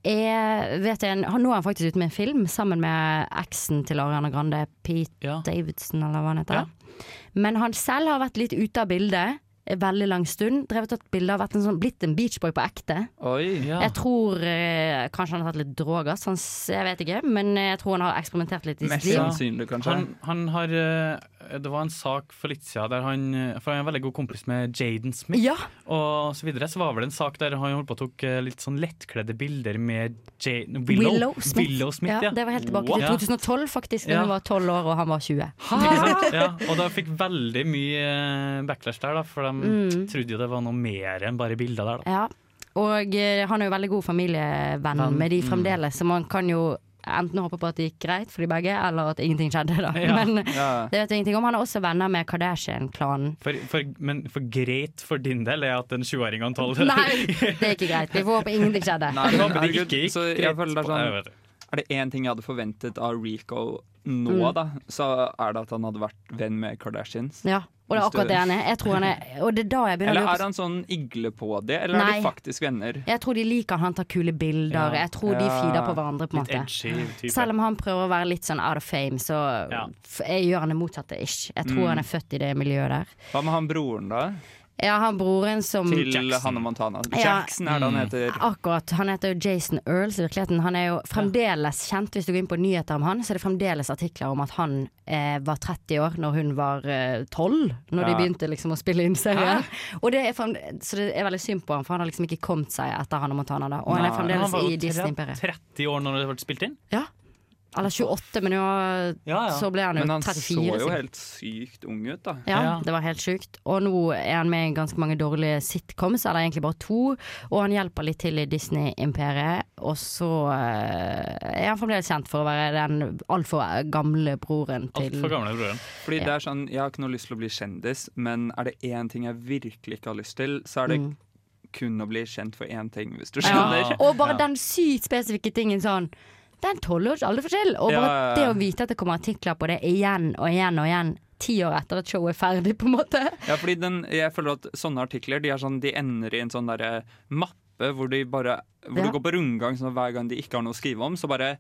S16: er, vet jeg, han, nå er han faktisk ute med en film sammen med eksen til Ariana Grande, Pete Davidson eller hva han heter. Men han selv har vært litt ute av bildet en veldig lang stund. Drevet tatt bilder av vært en sånn, blitt en beachboy på ekte.
S15: Oi.
S16: Jeg tror eh, kanskje han har tatt litt droger, sånn, s- jeg vet ikke. Men jeg tror han har eksperimentert litt i sitt liv.
S7: Han, han har eh, Det var en sak for litt siden der han eh, For han er en veldig god kompis med Jaden Smith
S16: Ja.
S7: og så videre. Så var vel det en sak der han holdt på og tok eh, litt sånn lettkledde bilder med J Willow,
S16: Willow Smith.
S7: Willow Smith, ja.
S16: ja, det var helt tilbake
S7: Wow.
S16: til 2012, faktisk, da
S7: Ja.
S16: hun var 12 år og han var 20.
S7: Ikke sant? Ja, og da fikk veldig mye eh, backlash der, da, for de
S16: Mm.
S7: trodde jo det var noe mer enn bare bilder der. Da.
S16: Ja, og eh, han er jo veldig god familievenn
S7: Venn,
S16: med de
S7: mm.
S16: fremdeles, så man kan jo enten håpe på at det gikk greit for de begge, eller at ingenting skjedde, da.
S7: Ja.
S16: Men
S7: Ja.
S16: det vet jeg ingenting om. Han er også venner med Kardashian-klanen.
S7: For, for, men for greit for din del er at en sjuåring og en tolv
S16: Nei, det er ikke greit. Vi får håpe ingenting skjedde.
S15: Nei,
S7: Jeg
S15: men
S7: håper det
S15: herregud,
S7: ikke gikk
S15: så jeg
S7: greit
S15: føler det
S7: på-
S15: er, sånn,
S7: jeg vet
S15: er det én ting jeg hadde forventet av Rico nå,
S16: Mm.
S15: da, så er det at han hadde vært venn med Kardashians.
S16: Ja, og
S15: Hvis
S16: det er
S15: du-
S16: akkurat det han er. Jeg tror han er Og det er da jeg begynner
S15: Eller
S16: å
S15: er
S16: lure på
S15: han sånn igle på det, eller er de
S16: Nei.
S15: faktisk venner?
S16: Jeg tror de liker han tar kule bilder.
S15: Ja.
S16: Jeg tror de
S15: Ja.
S16: feeder på hverandre, på en
S15: Litt
S16: måte.
S15: edgy type.
S16: Selv om han prøver å være litt sånn out of fame, så f- jeg gjør han det motsatte, ish. Jeg tror
S15: Mm.
S16: han er født i det miljøet der.
S15: Hva med han broren, da?
S16: Ja, han broren som
S15: Til Hanne Montana.
S16: Ja.
S15: Jackson er det han heter.
S16: Akkurat. Han heter jo Jason Earls i virkeligheten. Han er jo fremdeles kjent. Hvis du går inn på nyheter om han, så er det fremdeles artikler om at han eh, var 30 år når hun var eh, 12, når de
S17: Ja.
S16: begynte liksom å spille inn serien. Og det er frem, så det er veldig synd på han, for han har liksom ikke kommet seg etter Hanne Montana da. Og han
S7: Nei.
S16: er
S7: Han
S16: fremdeles
S7: var jo
S16: i Disney-imperiet.
S7: 30 år når det ble spilt inn?
S16: Ja. Eller 28, men nå, så ble han jo
S15: Men han
S16: 34.
S15: så jo
S16: sikkert.
S15: helt sykt ung ut, da.
S16: Ja, det var helt sjukt. Og nå er han med i ganske mange dårlige sitcoms, eller egentlig bare to. Og han hjelper litt til i Disney-imperiet. Og så eh, er han fremdeles kjent for å være den altfor gamle broren til
S15: Fordi det
S16: Ja.
S15: er sånn, Jeg har ikke noe lyst til å bli kjendis, men er det én ting jeg virkelig ikke har lyst til, så er det
S16: Mm.
S15: kun å bli kjent for én ting, hvis du skjønner.
S16: Ja. Og bare den sykt spesifikke tingen sånn Det er en tolvårs alderforskjell! Og bare
S15: Ja, ja, ja.
S16: det å vite at det kommer artikler på det igjen og igjen og igjen, ti år etter at showet er ferdig, på en måte.
S15: Ja, fordi den, jeg føler at sånne artikler de, er sånn, de ender i en sånn derre mappe hvor, de bare, hvor
S16: Ja.
S15: du går på rundgang sånn, at hver gang de ikke har noe å skrive om, så bare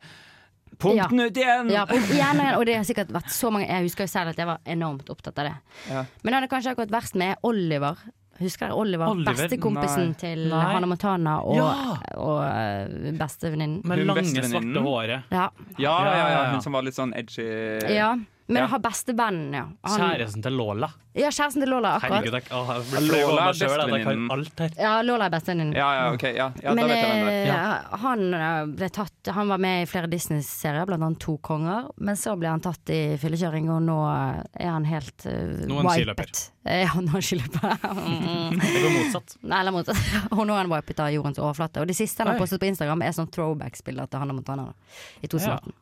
S15: Pump
S16: Ja.
S15: den ut igjen!
S16: Ja, pump igjen og igjen. Og det har sikkert vært så mange Jeg husker jo selv at jeg var enormt opptatt av det.
S15: Ja.
S16: Men det hadde kanskje akkurat verst med Oliver. Husker dere Oliver?
S15: Oliver?
S16: Bestekompisen
S15: Nei.
S16: til
S15: Nei.
S16: Hanne Montana og,
S15: Ja.
S16: og, øh, bestevenninnen.
S15: Med Hun lange, bestevenninnen. svarte håret.
S16: Ja.
S15: Ja, ja, ja,
S7: Ja, ja, ja.
S15: Hun som var litt sånn edgy.
S16: ja. Men å ha bestevennen, ja. Han-
S7: Kjæresten til Lola.
S16: Ja, kjæresten til Lola,
S7: Herregud,
S16: akkurat.
S7: jeg, åh, jeg blir flau over
S15: Lola er
S7: meg selv, jeg kan
S15: bestevenninnen.
S7: alt her.
S16: Ja, Lola er bestevenninnen.
S15: Ja, ja, ok. Ja, ja,
S16: Men
S15: da vet jeg hvem det
S16: eh,
S15: er.
S16: han eh, ble tatt Han var med i flere Disney-serier, blant annet To konger. Men så ble han tatt i fyllekjøring, og nå eh, er han helt uh,
S17: Nå er han skiløper.
S16: Ja, nå er han skiløper. Mm.
S17: Det går motsatt.
S16: Nei, eller motsatt. Og nå er han wipet av jordens overflate. Og det siste han har
S17: Oi.
S16: postet på Instagram, er sånn throwback-spiller til Hanne Montana da, i 2018.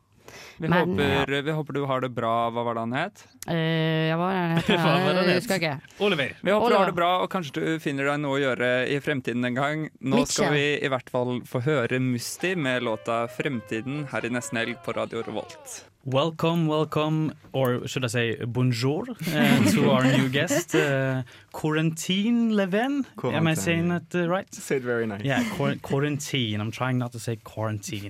S15: Vi, håper, eh, vi håper du har det bra. Hva var det han het?
S16: Eh, ja, hva var det han
S15: Hva var
S16: het?
S15: det han
S16: Jeg
S15: het?
S16: husker ikke.
S7: Oliver.
S15: Vi håper du
S16: Oliver.
S15: har det bra, og kanskje du finner deg noe å gjøre i fremtiden en gang. Nå
S16: Mitchell.
S15: skal vi i hvert fall få høre Musti med låta 'Fremtiden' her i Nesten Helg på Radio Revolt.
S7: Welcome, welcome, or should I say bonjour uh, to our new guest, uh, Quarantine Leven. Am I
S21: Quarantine.
S7: saying that uh, right?
S21: Say it very nice.
S7: Yeah, quar- quarantine. I'm trying not to say quarantine.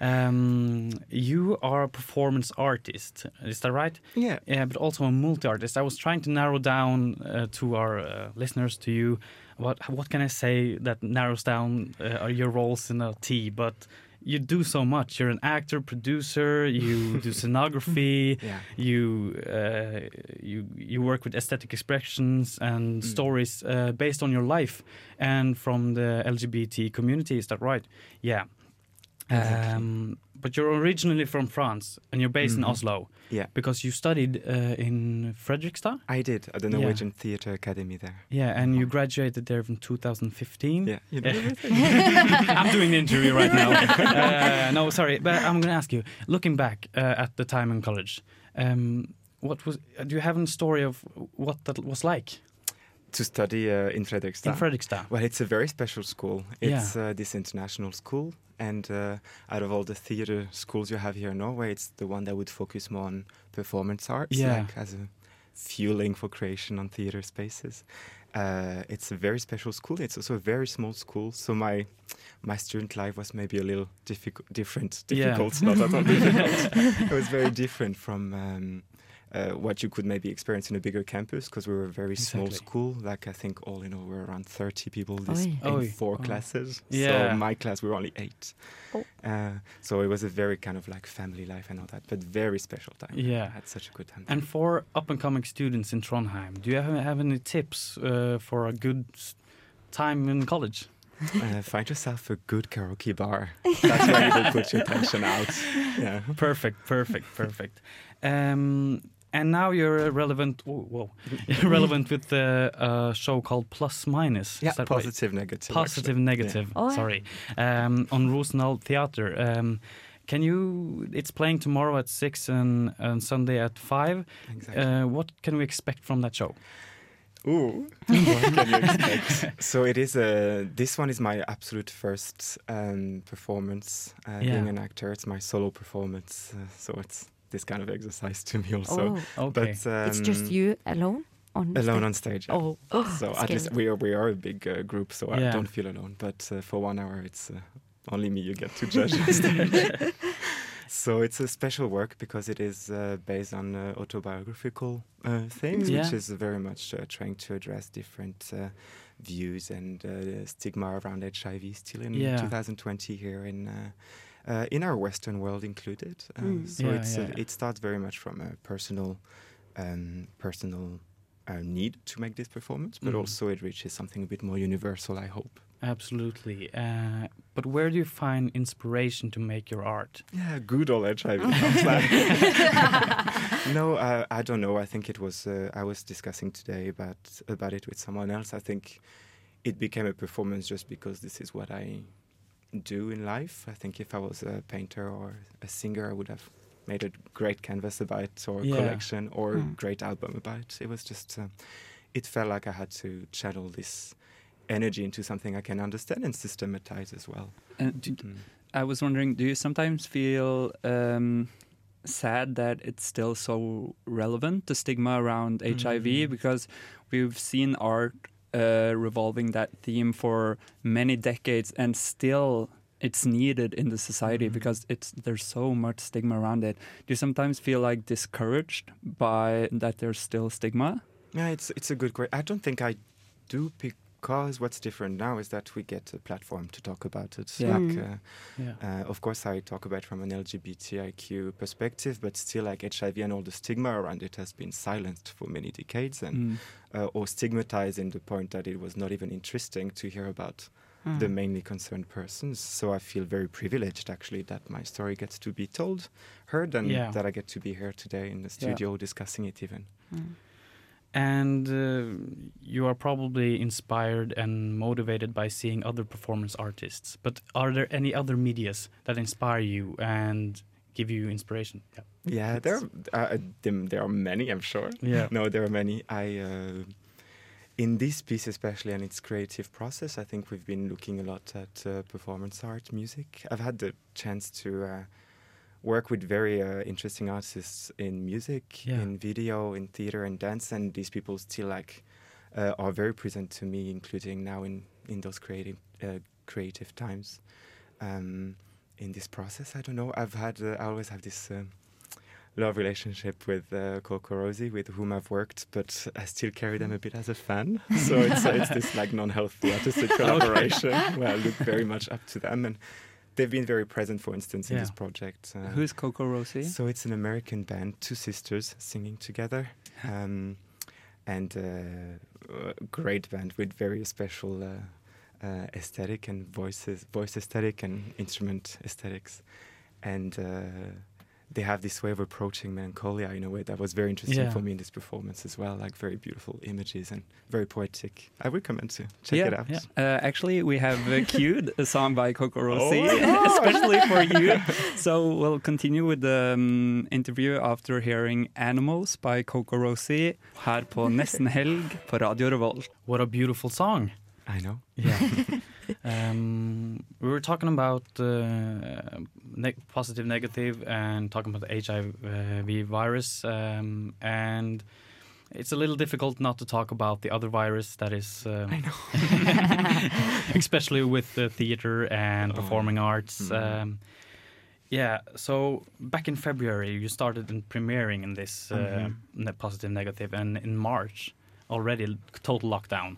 S7: um, you are a performance artist, is that right?
S21: Yeah.
S7: Yeah, but also a multi-artist. I was trying to narrow down uh, to our uh, listeners, to you, what what can I say that narrows down uh, your roles in a T, but. You do so much. You're an actor, producer. You do scenography.
S21: Yeah.
S7: You uh, you you work with aesthetic expressions
S21: Mm.
S7: and stories uh, based on your life and from the LGBT community. Is that right? Yeah. Um, but you're originally from France and you're based
S21: Mhm.
S7: in Oslo.
S21: Yeah.
S7: Because you studied uh, in Fredrikstad.
S21: I did at the
S7: Yeah.
S21: Norwegian Theatre Academy there.
S7: Yeah, and you graduated there in 2015. Yeah,
S21: you know
S7: I'm doing the interview right now. Uh, no, sorry, but I'm going to ask you. Looking back uh, at the time in college, um, what was? Do you have a story of what that was like?
S21: To study uh, in Fredrikstad.
S7: In Fredrikstad.
S21: Well, it's a very special school.
S7: Yeah.
S21: It's uh, this international school, and uh, out of all the theatre schools you have here in Norway, it's the one that would focus more on performance arts,
S7: Yeah.
S21: like as a fueling for creation on theatre spaces. Uh, it's a very special school. It's also a very small school, so my my student life was maybe a little difficult, different,
S7: Yeah.
S21: difficult, not at all difficult. it was very different from um, uh, what you could maybe experience in a bigger campus because we were a very small
S7: Exactly.
S21: school. Like I think all in all, we were around 30 people this,
S7: Oy.
S21: in
S7: Oy.
S21: four
S7: Oh.
S21: classes.
S7: Yeah.
S21: So my class, we were only eight. Uh, so it was a very kind of like family life and all that, but very special time.
S7: Yeah.
S21: I had such a good time.
S7: And for up and coming students in Trondheim, do you have, have any tips uh, for a good s- time in college?
S21: uh, find yourself a good karaoke bar. That's where you will put your tension out. Yeah.
S7: Perfect, perfect, perfect. Um, and now you're relevant. Oh, whoa, You're relevant with the uh, show called Plus Minus.
S21: Yeah,
S7: Is that
S21: positive, negative,
S7: Positive,
S21: actually.
S7: negative.
S21: Yeah. Oh, yeah.
S7: Sorry, um, on Rosenal Theater. Um, can you? It's playing tomorrow at six and, and Sunday at five.
S21: Exactly.
S7: Uh, what can we expect from that show?
S21: Ooh, what can you expect? so it is a. This one is my absolute first um, performance uh, being
S7: Yeah.
S21: an actor. It's my solo performance, uh, so it's this kind of exercise to me also.
S16: Oh.
S21: But um,
S16: It's just you alone? On
S21: alone on stage. yeah.
S16: Oh, oh,
S21: so at
S16: scary.
S21: least we are we are a big uh, group, so I
S7: Yeah.
S21: don't feel alone. But uh, for one hour, it's uh, only me you get to judge. on stage. So it's a special work because it is uh, based on uh, autobiographical uh, things, which
S7: Yeah.
S21: is very much uh, trying to address different uh, views and uh, stigma around HIV still in
S7: Yeah.
S21: 2020 here in. Uh, uh, in our Western world included, uh,
S7: Mm.
S21: so
S7: Yeah,
S21: it's,
S7: yeah.
S21: Uh, it starts very much from a personal, um, personal uh, need to make this performance, but
S7: Mhm.
S21: also it reaches something a bit more universal. I hope.
S7: Absolutely. Uh, but where do you find inspiration to make your art?
S21: Yeah, good old HIV. transplant. no, I, I don't know. I think it was. Uh, I was discussing today about about it with someone else. I think it became a performance just because this is what I do in life. I think if I was a painter or a singer, I would have made a great canvas about it or a
S7: Yeah.
S21: collection or a
S7: Mm.
S21: great album about it. It was just. Uh, it felt like I had to channel this energy into something I can understand and systematize as well. Hmm.
S15: And d- I was wondering, do you sometimes feel um, sad that it's still so relevant, the stigma around
S21: Mm.
S15: HIV? Because we've seen art uh, revolving that theme for many decades, and still it's needed in the
S21: Mm-hmm.
S15: society because it's there's so much stigma around it. Do you sometimes feel like discouraged by that there's still stigma?
S21: Yeah, it's it's a good question. I don't think I do because what's different now is that we get a platform to talk about it.
S15: Yeah.
S21: Like,
S15: Mm.
S21: uh,
S7: Yeah.
S21: uh, of course, I talk about it from an LGBTIQ perspective, but still, like HIV and all the stigma around it has been silenced for many decades, and
S15: Mm.
S21: uh, or stigmatized in the point that it was not even interesting to hear about
S15: Mm.
S21: the mainly concerned persons. So I feel very privileged actually that my story gets to be told, heard, and
S7: Yeah.
S16: Mm.
S21: that I get to be here today in the studio discussing it even.
S7: and uh, you are probably inspired and motivated by seeing other performance artists. But are there any other medias that inspire you and give you inspiration? Yeah,
S21: yeah there are, uh, there are many, I'm sure.
S7: Yeah.
S21: No, there are many. I uh, in this piece especially and its creative process, I think we've been looking a lot at uh, performance art, music. I've had the chance to uh, work with very uh, interesting artists in music,
S7: yeah.
S21: in video, in theater and dance, and these people still like uh, are very present to me, including now in in those creative uh, creative times. Um, in this process, I don't know. I've had uh, I always have this. um, Love relationship with uh, Coco Rosie, with whom I've worked, but I still carry them a bit as a fan. So it's, uh, it's this like non-healthy artistic collaboration where I look very much up to them, and they've been very present, for instance, in
S15: Yeah.
S21: this project. Uh,
S15: Who's Coco Rosie?
S21: So it's an American band, two sisters singing together, um, and uh, a great band with very special uh, uh, aesthetic and voices, voice aesthetic and instrument aesthetics, and. Uh, they have this way of approaching melancholia in a way that was very interesting
S15: Yeah.
S21: for me in this performance as well. Like very beautiful images and very poetic. I recommend to check
S15: Yeah,
S21: it out.
S15: yeah. Uh, actually, we have uh, queued a song by Coco Rossi,
S21: Oh.
S15: especially for you. So we'll continue with the um, interview after hearing Animals by Coco Rossi her på Nesten Helg på Radio Revolt.
S7: What a beautiful song.
S21: I know.
S7: Yeah. um, we were talking about uh, neg- positive, negative, and talking about the HIV virus. Um, and it's a little difficult not to talk about the other virus that is. Um, I know. Oh. especially with the theater and performing arts.
S15: Mm.
S7: Um, yeah, so back in February, you started in premiering in this uh,
S15: Mhm.
S21: Mm-hmm.
S7: ne- positive, negative, and in March, already l- total lockdown.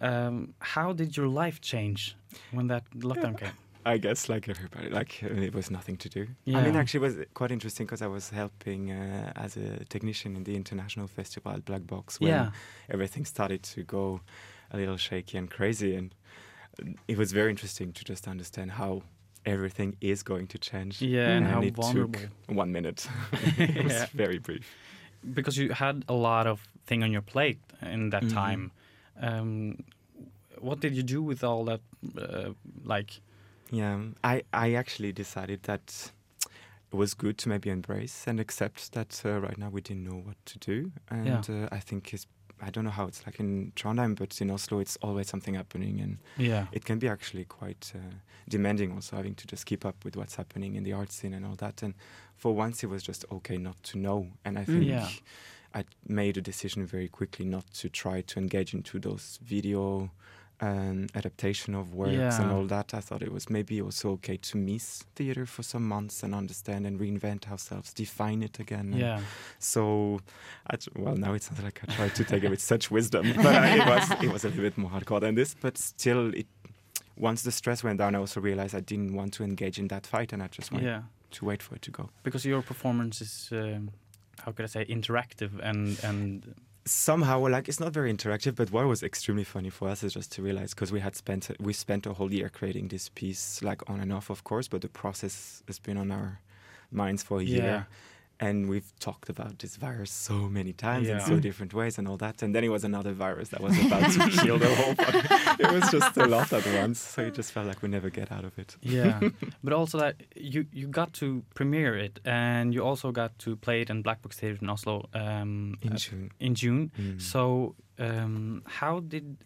S7: Um, how did your life change when that lockdown came?
S21: I guess like everybody, like uh, it was nothing to do.
S7: Yeah.
S21: I mean, actually, it was quite interesting because I was helping uh, as a technician in the international festival at Black Box when
S7: Yeah.
S21: everything started to go a little shaky and crazy, and it was very interesting to just understand how everything is going to change.
S7: Yeah, and how
S21: it
S7: vulnerable.
S21: took one minute. it was
S7: Yeah.
S21: very brief.
S7: Because you had a lot of thing on your plate in that
S21: Mhm.
S7: time. Um, what did you do with all that? Uh, like,
S21: Yeah, I, I actually decided that it was good to maybe embrace and accept that uh, right now we didn't know what to do. And
S7: Yeah.
S21: uh, I think it's, I don't know how it's like in Trondheim, but in Oslo it's always something happening. And
S7: Yeah.
S21: it can be actually quite uh, demanding also having to just keep up with what's happening in the art scene and all that. And for once it was just okay not to know. And I
S7: Mm.
S21: think.
S7: Yeah.
S21: I made a decision very quickly not to try to engage into those video um, adaptation of works and
S7: Yeah.
S21: all that. I thought it was maybe also okay to miss theater for some months and understand and reinvent ourselves, define it again. And
S7: Yeah.
S21: So, I, tr- well, now it sounds like I tried to take it with such wisdom, but uh, it was it was a little bit more hardcore than this. But still, it once the stress went down, I also realized I didn't want to engage in that fight, and I just wanted
S7: Yeah.
S21: to wait for it to go.
S7: because your performance is, um, how could I say, interactive and and
S21: somehow like it's not very interactive but what was extremely funny for us is just to realize because we had spent we spent a whole year creating this piece like on and off of course but the process has been on our minds for a year and we've talked about this virus so many times in
S7: Yeah.
S21: so different ways and all that and then it was another virus that was about to kill the whole fucking- it was just a lot at once so it just felt like we never get out of it
S7: Yeah, but also that you you got to premiere it, and you also got to play it in Black Box Theatre in Oslo um,
S21: In
S7: uh,
S21: June.
S7: In June.
S21: Mm.
S7: So um, how did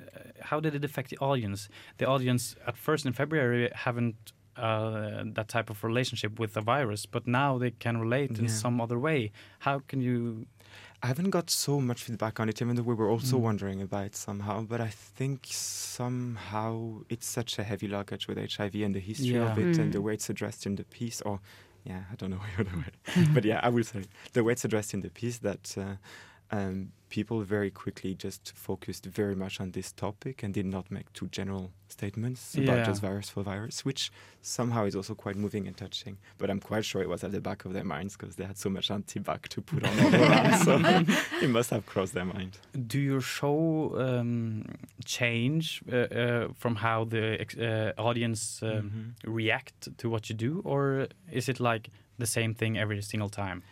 S7: uh, how did it affect the audience? The audience at first in February haven't uh, that type of relationship with the virus, but now they can relate in
S21: Yeah.
S7: some other way. How can you?
S21: I haven't got so much feedback on it, even though we were also
S7: Mm.
S21: wondering about it somehow. But I think somehow it's such a heavy luggage with HIV and the history of
S7: Yeah.
S21: it and the
S7: Mm.
S21: way it's addressed in the piece. Or, yeah, I don't know the way. but yeah, I will say the way it's addressed in the piece that uh, um, people very quickly just focused very much on this topic and did not make too general statements about
S7: Yeah.
S21: just virus for virus, which somehow is also quite moving and touching. But I'm quite sure it was at the back of their minds because they had so much anti-back to put on all around. so it must have crossed their mind.
S7: Do your show um, change uh, uh, from how the ex- uh, audience um, react to what you do, or is it like the same thing every single time?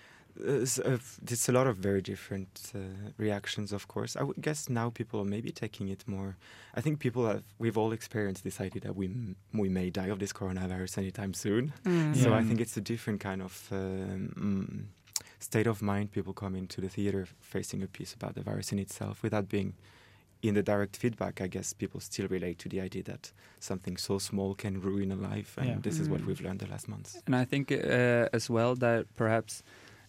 S21: it's, uh, it's a lot of very different uh, reactions, of course. I would guess now people are maybe taking it more. I think people have, we've all experienced this idea that we, m- we may die of this coronavirus anytime soon.
S23: Mm.
S21: So
S23: Yeah.
S21: I think it's a different kind of um, mm, state of mind people come into the theater facing a piece about the virus in itself without being in the direct feedback. I guess people still relate to the idea that something so small can ruin a life. And
S15: Yeah.
S21: this is what
S15: Mm.
S21: we've learned the last months.
S15: And I think uh, as well that perhaps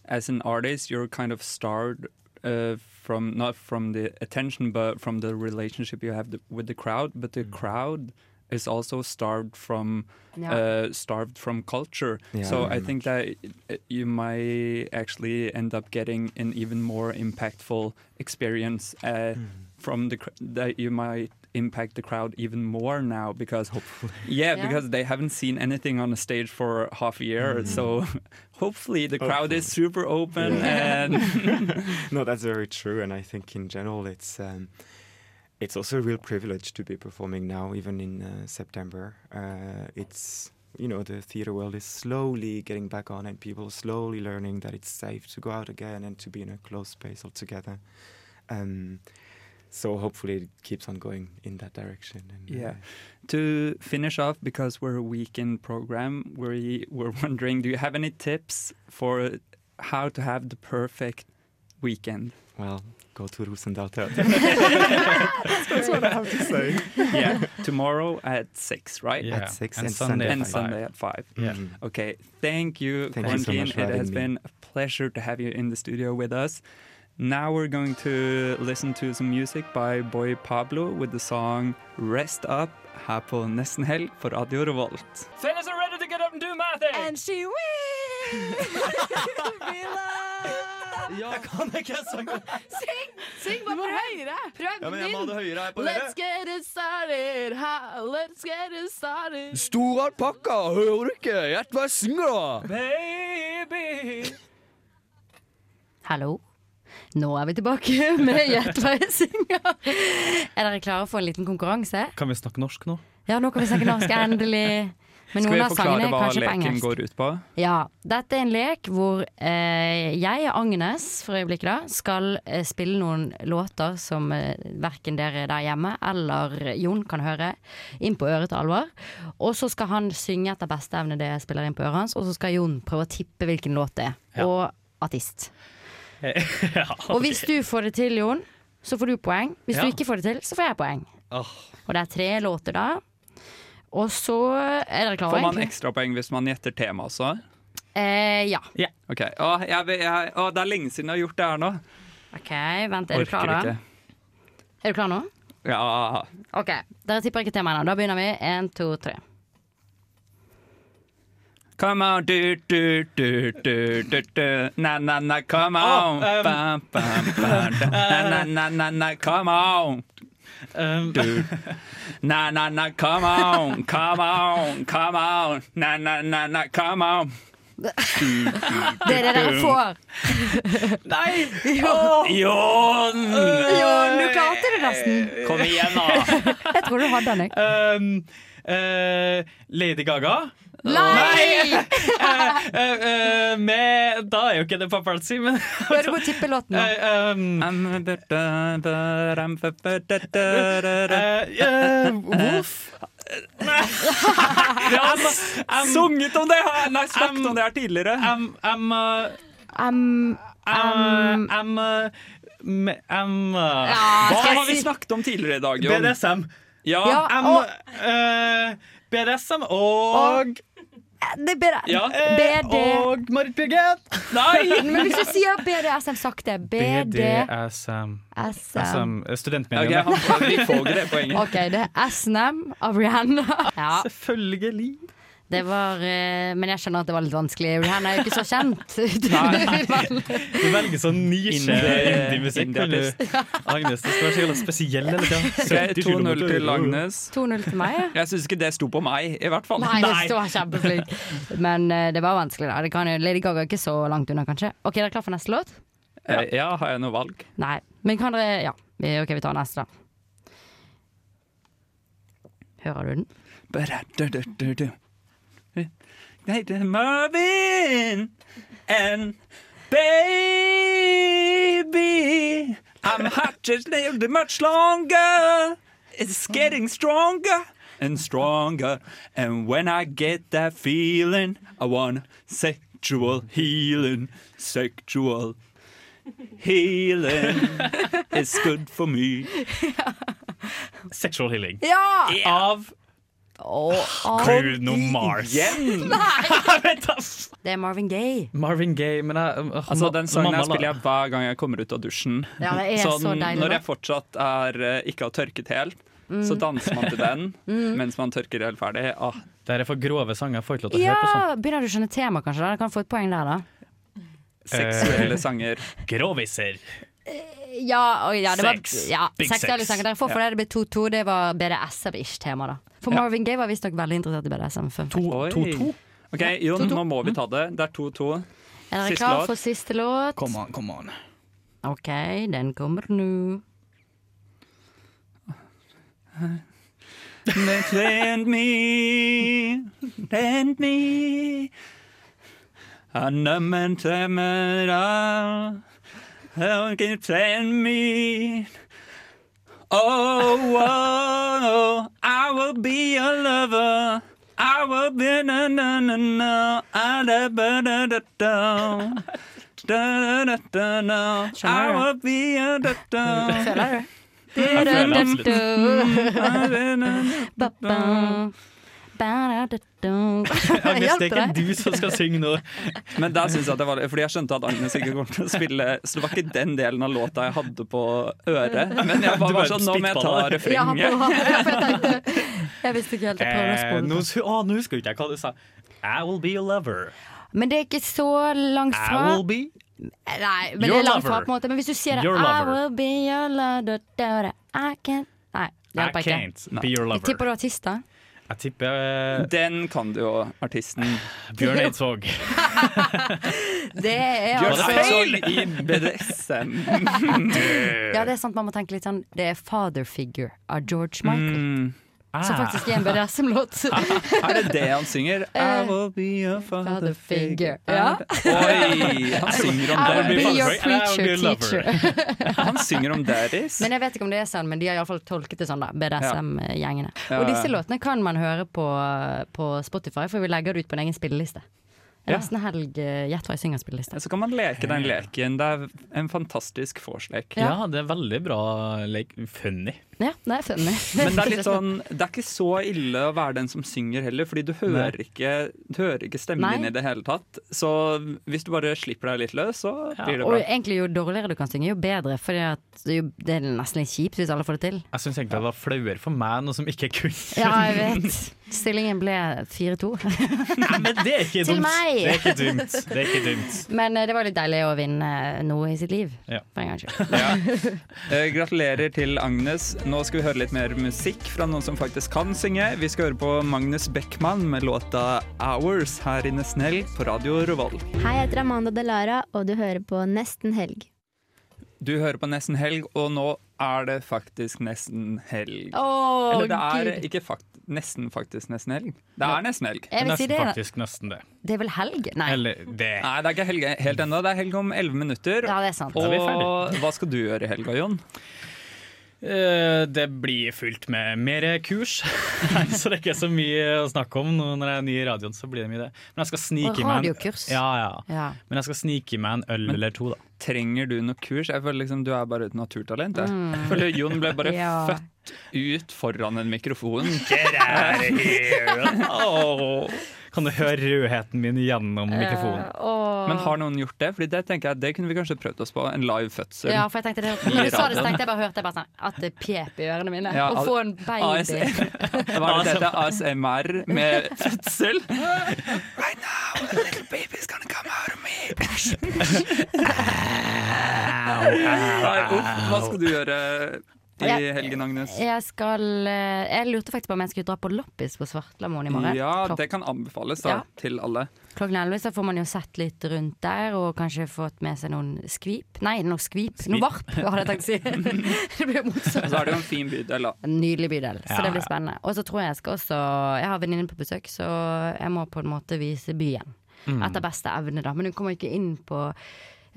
S15: as an artist, you're kind of starved uh, from not from the attention, but from the relationship you have the, with the crowd. But
S21: Mm.
S15: the crowd is also starved from
S16: Yeah.
S15: uh, starved from culture.
S21: Yeah,
S15: so I
S21: very
S15: think that uh, you might actually end up getting an even more impactful experience uh, from the cr- that you might impact the crowd even more now because hopefully yeah,
S16: Yeah.
S15: because they haven't seen anything on a stage for half a year so Hmm. hopefully the crowd is super open and
S21: no, that's very true, and I think in general it's um, it's also a real privilege to be performing now, even in uh, September. Uh, it's you know the theater world is slowly getting back on, and people slowly learning that it's safe to go out again and to be in a closed space altogether. Um, so hopefully it keeps on going in that direction. And, uh,
S15: Yeah. To finish off, because we're a weekend program, we were wondering, do you have any tips for how to have the perfect weekend?
S21: Well, go to Rosendal
S15: That's
S21: what I have to say.
S15: Yeah. Tomorrow at six, right?
S21: Yeah. At six And and Sunday Sunday at
S15: and
S21: five.
S15: Sunday at five.
S21: Yeah.
S15: Okay. Thank you,
S21: Thank you so
S15: Quentin.
S21: much for
S15: it has
S21: having me.
S15: been a pleasure to have you in the studio with us. Now we're going to listen to some music by Boy Pablo with the song Rest Up her på Nesten Helg på Radio Revolt.
S11: Fellas are ready to get up and do my thing.
S13: And she will be loved.
S11: Jeg kan ikke sangen.
S13: Syng! Syng bare høyere. Prøv
S11: Ja, men jeg må ha det høyere her på dere.
S13: Let's get it started. Ha, let's get it started.
S11: Stor alpakka, hører du ikke? Gjett hva jeg synger, da. Baby.
S16: Hallo. Nå er vi tilbake med Gjett hva jeg synger. Er dere klare for en liten konkurranse?
S7: Kan vi snakke norsk nå?
S16: Ja, nå kan vi snakke norsk, endelig. Men noen av sangene er kanskje på engelsk.
S15: går ut på?
S16: Ja, dette er en lek hvor eh, jeg og Agnes for øyeblikket da, skal eh, spille noen låter som eh, verken dere der hjemme eller Jon kan høre, inn på øret til Alvar. Og så skal han synge etter beste evne det jeg spiller inn på øret hans, og så skal Jon prøve å tippe hvilken låt det er, og artist. Og hvis du får det til, Jon, så får du poeng. Hvis
S7: Ja.
S16: du ikke får det til, så får jeg poeng. Og det er tre låter da. Og så er dere klare?
S15: Får man
S16: egentlig?
S15: ekstrapoeng hvis man gjetter tema også?
S16: Eh, ja.
S15: Ok, å, jeg, vet- jeg, å, Det er lenge siden jeg har gjort det her nå.
S16: OK, vent. Er du klar, da? Er du klar nå?
S15: Ja.
S16: OK. Dere tipper ikke temaet ennå. Da begynner vi. Én, to, tre.
S15: Come on, du, du, du, du, du, du. Na, na, na, come
S7: Ah,
S15: on. Ba,
S7: um,
S15: ba, ba, da. Na, na, na, na, na, come on. Du. Na, na, na, come on. Come on, come on. Na, na, na, na, come on.
S16: Det er det dere får.
S15: Nei!
S16: Jo.
S15: Jon!
S16: Jon, du klarte det nesten.
S15: Kom igjen, da.
S16: Jeg tror du hadde den, jeg.
S7: Um, eh, Lady Gaga?
S16: Nei!
S7: Eh, eh, eh, med Da er jo ikke det paparazzi, men
S16: Prøv å tippe låten nå.
S7: Eh, um, eh, Wolf?
S15: Sunget om det her! Nei, snakket om det her tidligere.
S7: Um, um, uh,
S16: Um,
S7: um, um, uh, me- um, uh,
S15: Hva
S7: hva
S15: har vi snakket om tidligere i dag, Jon?
S7: BDSM.
S15: Ja.
S7: um, eh, BDSM og
S16: Det er bedre.
S7: Ja.
S16: BD.
S7: Og Marit Bjørgen.
S16: Men hvis du sier BDSM sakte BDSM.
S7: BDSM. SM, eh,
S15: Ok,
S7: Studentmediene.
S15: han får- vi får ikke det poenget.
S16: OK, det er SNM av Rihanna.
S7: Ah.
S16: Ja.
S7: Selvfølgelig.
S16: Det var eh, Men jeg skjønner at det var litt vanskelig. Rihanna er jo ikke så kjent.
S7: Du velger sånn nisje
S15: Indie-
S7: indie-musikk. kan
S15: indie-artist.
S7: du? Agnes, det skal være så jævla spesiell hele tida.
S15: Ok, 2-0 til Agnes.
S16: 2-0 til meg.
S15: Jeg syns ikke det sto på meg, i hvert fall.
S16: Nei, det var kjempeflink. Men eh, det var vanskelig, da. Det kan jo, Lady Gaga er ikke så langt unna, kanskje. OK, er dere klar for neste låt?
S15: Eh, Ja, har jeg noe valg?
S16: Nei. Men kan dere Ja, vi- OK, vi tar neste, da. Hører du den?
S15: Ba-da-da-da-da-da. Nei, det er Marvin and Baby, I'm hot just lived much longer. It's getting stronger and stronger. And when I get that feeling, I want sexual healing. Sexual healing is good for me.
S7: Sexual healing.
S16: Ja!
S7: Av
S16: Åh,
S7: Bruno Mars.
S16: Det er Marvin Gaye.
S7: Marvin Gaye, men jeg,
S15: Altså, den sangen her spiller jeg hver gang jeg kommer ut av dusjen.
S16: Ja, det er så
S15: n-
S16: deilig
S15: Sånn, når jeg
S16: låt.
S15: fortsatt er, eh, ikke har tørket helt, så
S16: Mm.
S15: danser man til den
S16: Mm.
S15: mens man tørker helt ferdig. Ah.
S7: Det er for grove sanger. Jeg får ikke lov til å høre på sånt.
S16: Ja, begynner du å skjønne tema, kanskje? Da? Du kan få et poeng der, da.
S15: Seksuelle
S7: Eh,
S15: sanger.
S7: Groviser.
S16: Ja, og ja, det var,
S7: Sex.
S16: ja
S7: Big
S16: seksuelle
S7: sex.
S16: sanger. Dere får for
S7: Ja.
S16: det. Det ble 2-2. Det var BDSM-ish-tema, da. For
S15: Ja.
S16: Marvin Gaye var visstnok veldig interessert i BDSM. Fun fact.
S15: Oi.
S16: Er
S15: OK, Jon,
S16: 2-2.
S15: nå må vi ta det. Det er 2-2.
S16: dere
S15: Siste
S16: klare
S15: låt.
S16: for siste låt?
S15: on, come on.
S16: OK, den kommer nå.
S15: Lend me, lend me A number terminal Don't keep send me Oh, oh, oh, I will be a lover I will be na na na na I da ba da da da Da da da da da I
S16: Skjønner du?
S15: will be a da da Mm,
S16: Føler du?
S15: Jeg føler absolutt.
S16: Hjalp det deg?
S15: du som skal synge nå. Men der synes jeg at det var Fordi jeg skjønte at Agnes ikke kom til å spille, så det var ikke den delen av låta jeg hadde på øret. Men jeg var
S7: Du bare
S15: bare sånn Nå må jeg ta
S7: spyttballer.
S16: Ja,
S15: refrenget.
S16: på- ja, for jeg tenkte Jeg visste ikke helt. Jeg prøver å
S7: Eh,
S16: spole.
S7: nå hu- å, nå husker jeg ikke hva du sa. I will be a lover.
S16: Men det er ikke så langt fra.
S7: I will be
S16: Eh, Nei, men
S7: Your
S16: det er langt fra
S7: lover.
S16: på en måte. Men hvis du sier det
S7: Your
S16: I
S7: lover.
S16: will be your lover da, da, I can't Nei, det
S7: I
S16: hjelper ikke.
S7: can't be your
S16: Jeg
S7: lover.
S16: tipper du er artist, da.
S7: Jeg tipper eh,
S15: Den kan du jo, artisten.
S7: Bjørn Eidsvåg.
S16: Det er
S15: Bjørn
S16: altså
S15: Eidsvåg i BDSM.
S16: Ja, det er sant, man må tenke litt sånn Det er Father Figure av George Michael.
S15: Mm.
S7: Ah,
S16: Som faktisk er en BDSM-låt.
S15: Er det det han synger? I
S16: Eh,
S15: will be a
S16: Father
S15: father
S16: Figure.
S15: figure.
S16: Ja.
S15: Oi! Han synger om
S16: I will be your
S15: daddies.
S16: preacher teacher.
S15: Han synger om daddies.
S16: Men jeg vet ikke om det er sånn, men de har iallfall tolket det sånn, da. BDSM-gjengene.
S15: Ja, ja.
S16: Og disse låtene kan man høre på, på Spotify, for vi legger det ut på en egen spilleliste.
S15: Ja.
S16: Nesten helg eh, Gjett hva jeg synger spilleliste.
S15: Så kan man leke den leken. Det er en fantastisk vorslek.
S7: Ja, det er veldig bra lek. Funny.
S16: Ja, det er funny.
S15: Men det er litt sånn, det er ikke så ille å være den som synger heller, fordi du hører, ikke, du hører ikke stemmen
S16: Nei.
S15: din i det hele tatt. Så hvis du bare slipper deg litt løs, så blir det
S16: Og
S15: bra.
S16: egentlig jo dårligere du kan synge, jo bedre. For det er nesten litt kjipt hvis alle får det til.
S7: Jeg syns egentlig det var flauere for meg, noe som ikke er kunst.
S16: Ja, jeg vet. Stillingen ble 4-2.
S7: Nei, men det er ikke
S16: Til
S7: dumt.
S16: meg.
S7: Det er ikke dumt. Det er ikke dumt.
S16: Men eh, det var litt deilig å vinne eh, noe i sitt liv.
S7: Ja.
S16: For en gangs skyld.
S15: Ja. Eh, gratulerer til Agnes. Nå skal vi høre litt mer musikk fra noen som faktisk kan synge. Vi skal høre på Magnus Beckmann med låta 'Hours' her i Nesten Helg på Radio Revolt.
S23: Hei, jeg heter Amanda Delara, og du hører på Nesten Helg.
S15: Du hører på Nesten Helg, og nå er det faktisk nesten helg.
S16: Åh,
S15: Eller det er
S16: Gud.
S15: ikke fakt nesten faktisk nesten helg. Det er nesten helg.
S16: Jeg vil si det, da.
S7: nesten det.
S16: Det er vel helg? Nei.
S7: det.
S15: Nei, det er ikke helg helt ennå. Det er helg om 11 minutter.
S16: Ja, det er sant.
S7: Da er vi
S15: Og
S7: ferdig.
S15: hva skal du gjøre i helga, Jon?
S7: Eh, Det blir fullt med mer kurs, så det er ikke så mye å snakke om. Nå Når jeg er ny i radioen, så blir det mye det. Men jeg skal
S16: Og
S7: snike i meg en,
S16: radiokurs.
S7: ja, ja.
S16: Ja.
S7: Men jeg skal snike i meg en øl eller to, da.
S15: Trenger du noe kurs? Jeg føler liksom Du er bare et naturtalent. Jeg
S7: Mm.
S15: føler Jon ble bare
S7: Ja.
S15: født ut foran en mikrofon.
S7: Get out of here! Åh. Kan du høre rødheten min gjennom mikrofonen?
S16: Eh, åh.
S15: Men har noen gjort det? Fordi det tenker jeg, det kunne vi kanskje prøvd oss på. En live fødsel.
S16: Ja, for jeg tenkte det,
S15: I
S16: når du sa det, så
S15: radioen.
S16: tenkte jeg bare hørte jeg bare sånn, at det pep i ørene mine.
S15: Ja, E.
S16: å
S15: al-
S16: få en baby.
S15: Hva er det det heter? ASMR med fødsel? Nei, uff, hva skal du gjøre i
S16: Jeg-
S15: helgen, Agnes?
S16: Jeg skal eh, Jeg lurte faktisk på om jeg skulle dra på loppis på Svartlamoen i morgen.
S15: Ja,
S16: Klok-
S15: det kan anbefales da,
S16: Ja.
S15: til alle.
S16: Klokken 11 så får man jo sett litt rundt der, og kanskje fått med seg noen skvip. Nei, noe skvip. Noe varp, hadde jeg tenkt å si. det blir jo
S15: Og så er
S16: morsomt.
S15: det jo en fin bydel, da.
S16: En nydelig bydel, så
S15: Ja,
S16: det blir spennende. Og så tror jeg jeg skal også Jeg har venninne på besøk, så jeg må på en måte vise byen.
S15: Mm.
S16: Etter beste evne, da. Men hun kommer ikke inn på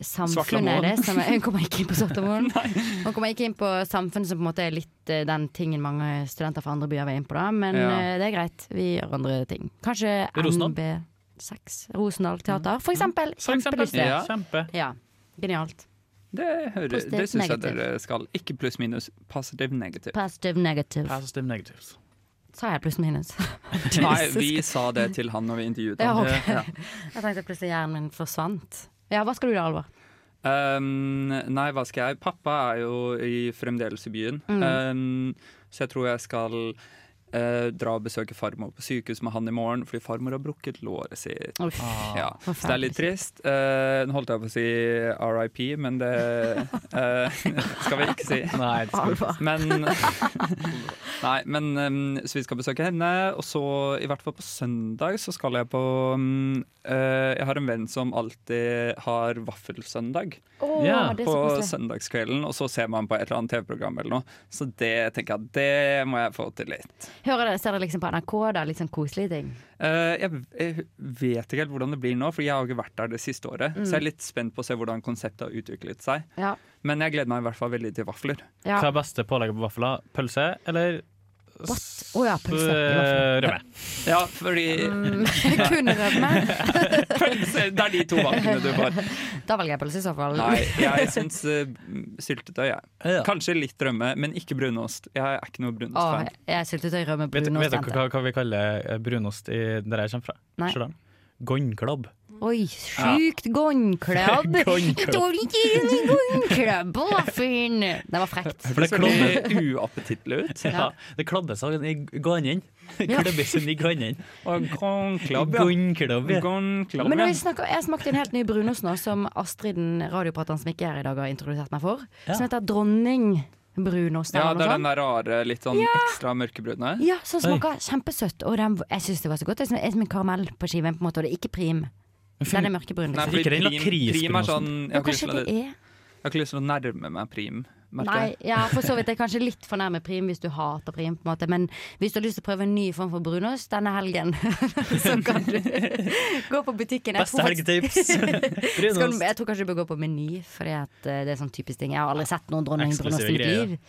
S16: samfunnet er det som er, Hun kommer ikke inn på Svartlamoen. Hun kommer ikke inn på samfunnet som på en måte er litt eh, den tingen mange studenter fra andre byer vil inn på, da. Men
S15: Ja.
S16: eh, det er greit, vi gjør andre ting. Kanskje
S15: Rosendal?
S16: NB6. Rosendal teater,
S15: Mm.
S16: for eksempel.
S15: For eksempel,
S16: Kjempelyst til.
S15: ja. Kjempe.
S16: Ja. Genialt.
S15: Det, hører,
S16: Positivt,
S15: det syns jeg
S16: negativt.
S15: dere skal. Ikke pluss, minus. Positive, negative.
S16: Positive negative.
S7: Positive negatives.
S16: Sa jeg pluss minus?
S15: Nei, vi sa det til han når vi intervjuet
S16: Ja,
S15: han.
S16: ok. Jeg tenkte plutselig hjernen min forsvant. Ja, hva skal du gjøre, Alvor?
S15: Um, nei, hva skal jeg? Pappa er jo i, fremdeles i byen,
S16: Mm.
S15: um, så jeg tror jeg skal eh, dra og besøke farmor på sykehus med han i morgen, fordi farmor har brukket låret sitt.
S16: Uff,
S15: ja. Ah, Så det er
S16: forferdelig.
S15: litt trist. Eh, nå holdt jeg på å si RIP, men det eh, skal vi ikke si.
S7: Nei, det skal vi ikke si.
S15: Men, nei, men um, Så vi skal besøke henne, og så i hvert fall på søndag så skal jeg på um, eh, Jeg har en venn som alltid har vaffelsøndag.
S7: Åh, Ja. det er så
S15: på
S7: koselig.
S15: søndagskvelden, og så ser man på et eller annet TV-program eller noe. Så det tenker jeg at det må jeg få til litt.
S16: Hører dere, Ser dere liksom på NRK, da? Litt sånn koselige ting?
S15: Eh, jeg, jeg vet ikke helt hvordan det blir nå, Fordi jeg har ikke vært der det siste året.
S16: Mm.
S15: Så jeg er litt spent på å se hvordan konseptet har utviklet seg.
S16: Ja.
S15: Men jeg gleder meg i hvert fall veldig til vafler.
S16: Ja.
S7: Hva er beste pålegget på vafler? Pølse eller
S16: What? Å ja, pølse. i
S7: Eh,
S16: vafler.
S7: rømme?
S15: Ja, fordi
S16: Mm, kun rømme?
S15: Pølse, Det er de to valgene du får.
S16: Da velger jeg pølse i så fall.
S15: Nei, jeg syns eh, syltetøy, jeg. Kanskje litt rømme, men ikke brunost. Jeg er ikke noe
S16: Åh,
S15: brunostfan.
S16: jeg er syltetøy, rømme,
S7: Vet, vet
S16: brunost,
S7: dere
S16: jente.
S7: hva, hva vi kaller eh, brunost i der jeg kommer fra?
S16: Nei.
S7: Stjørdal? Gonnklubb.
S16: Oi, sjukt gångklubb!
S7: Gångklubb.
S16: Jeg tåler ikke en gångklubb på vaffelen! Det var frekt.
S15: For det ser veldig uappetittlig ut.
S7: Ja, det klabber seg i gannen.
S16: Ja.
S7: Klabber seg i gannen.
S15: Gonnklubb, ja.
S7: Gonnklubb, ja.
S15: Gonnklubb,
S16: Men
S15: ja.
S16: jeg, snakker, jeg smakte en helt ny brunost nå, som Astrid, den radioprateren som ikke er her i dag, har introdusert meg for.
S15: Ja.
S16: Som heter dronningbrunost.
S15: Ja,
S16: eller
S15: det
S16: noe
S15: er
S16: sånt.
S15: den der rare, litt sånn
S16: Ja.
S15: ekstra mørkebrune.
S16: Ja, sånn som smaker kjempesøtt. Og den, jeg syns det var så godt. Det er som- er som en karamell på skiven, på en måte, og det er ikke prim. Den er mørkebrun.
S15: Nei,
S16: Liksom.
S15: fordi
S7: Ikke den
S15: prim, prim er sånn
S7: lakrisbrunosten.
S15: jeg har, ikke
S16: Men
S15: lyst til
S16: kanskje
S15: å-
S16: det er?
S15: jeg har ikke lyst til å nærme meg prim.
S16: Nei,
S15: merker jeg.
S16: ja, for så vidt. Det er kanskje litt for nærme prim hvis du hater prim, på en måte. Men hvis du har lyst til å prøve en ny form for brunost denne helgen, så kan du gå på butikken. Jeg
S7: Beste
S16: tror faktisk-
S7: helgetips!
S16: Skal, du-
S7: Brunost.
S16: jeg tror kanskje du bør gå på Meny, for det er sånn typisk ting. Jeg har aldri sett noen dronningbrunost i
S7: Eksklusive
S16: mitt
S7: greier.
S16: liv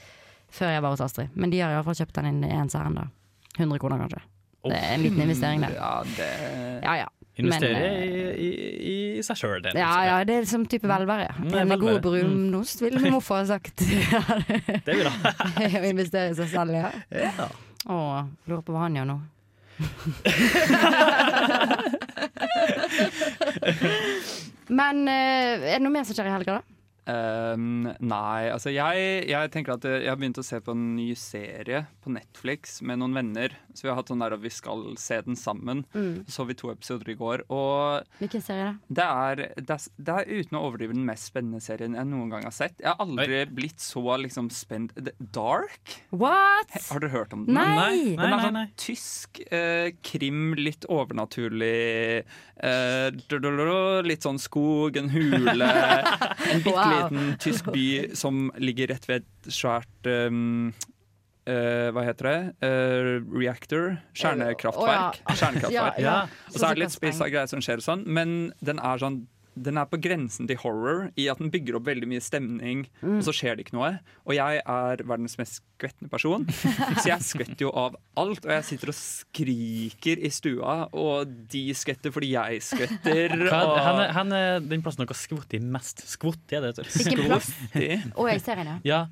S16: før jeg var hos Astrid. Men de har iallfall kjøpt den inn i en særen, da. 100 kroner, kanskje. Det er en liten investering, det.
S15: Ja, det
S16: Ja, ja.
S7: Investere
S16: Men, eh,
S7: i, i, i seg sjøl, det.
S16: Ja, ja, det er liksom. som type velvære.
S7: Mm,
S16: En
S7: velvære.
S16: god brunost, ville min morfar ha sagt.
S7: Det vil jeg.
S16: Å investere i seg selv, ja.
S7: Ja.
S16: Å, lurer på hva han gjør nå. Men eh, er det noe mer som skjer i helga, da?
S15: Um, nei, altså jeg, jeg tenker at eh, jeg har begynt å se på en ny serie på Netflix med noen venner. Så vi har hatt sånn der at vi skal se den sammen.
S16: Mm.
S15: Så vi to episoder i går. Og
S16: Hvilken serie er det?
S15: det er, det, er, det er uten å overdrive den mest spennende serien jeg noen gang har sett. Jeg har aldri blitt så liksom spent Det- Dark?
S16: What?
S15: Har dere hørt om den?
S16: Nei! Nei, nei,
S15: den er
S16: nei,
S15: sånn tysk eh, krim, litt overnaturlig. Eh, dododoro, litt sånn skog, en hule. En bitte
S16: Wow.
S15: liten tysk by som ligger rett ved et svært um, eh, hva heter det? Eh, reactor? Kjernekraftverk.
S16: Å, ja.
S15: Kjernekraftverk.
S16: Ja, ja.
S15: Og så er det litt spissa greier som skjer og sånn, men den er sånn den er på grensen til horror i at den bygger opp veldig mye stemning, og
S16: Mm.
S15: så skjer det ikke noe. Og jeg er verdens mest skvettende person, så jeg skvetter jo av alt. Og jeg sitter og skriker i stua, og de skvetter fordi jeg skvetter.
S7: Hva,
S15: og...
S7: han, er, han er den plassen dere har skvott i mest. Skvott er det det heter.
S16: Hvilken plass?
S15: Skvotti.
S16: Å, jeg ser henne.
S7: Ja.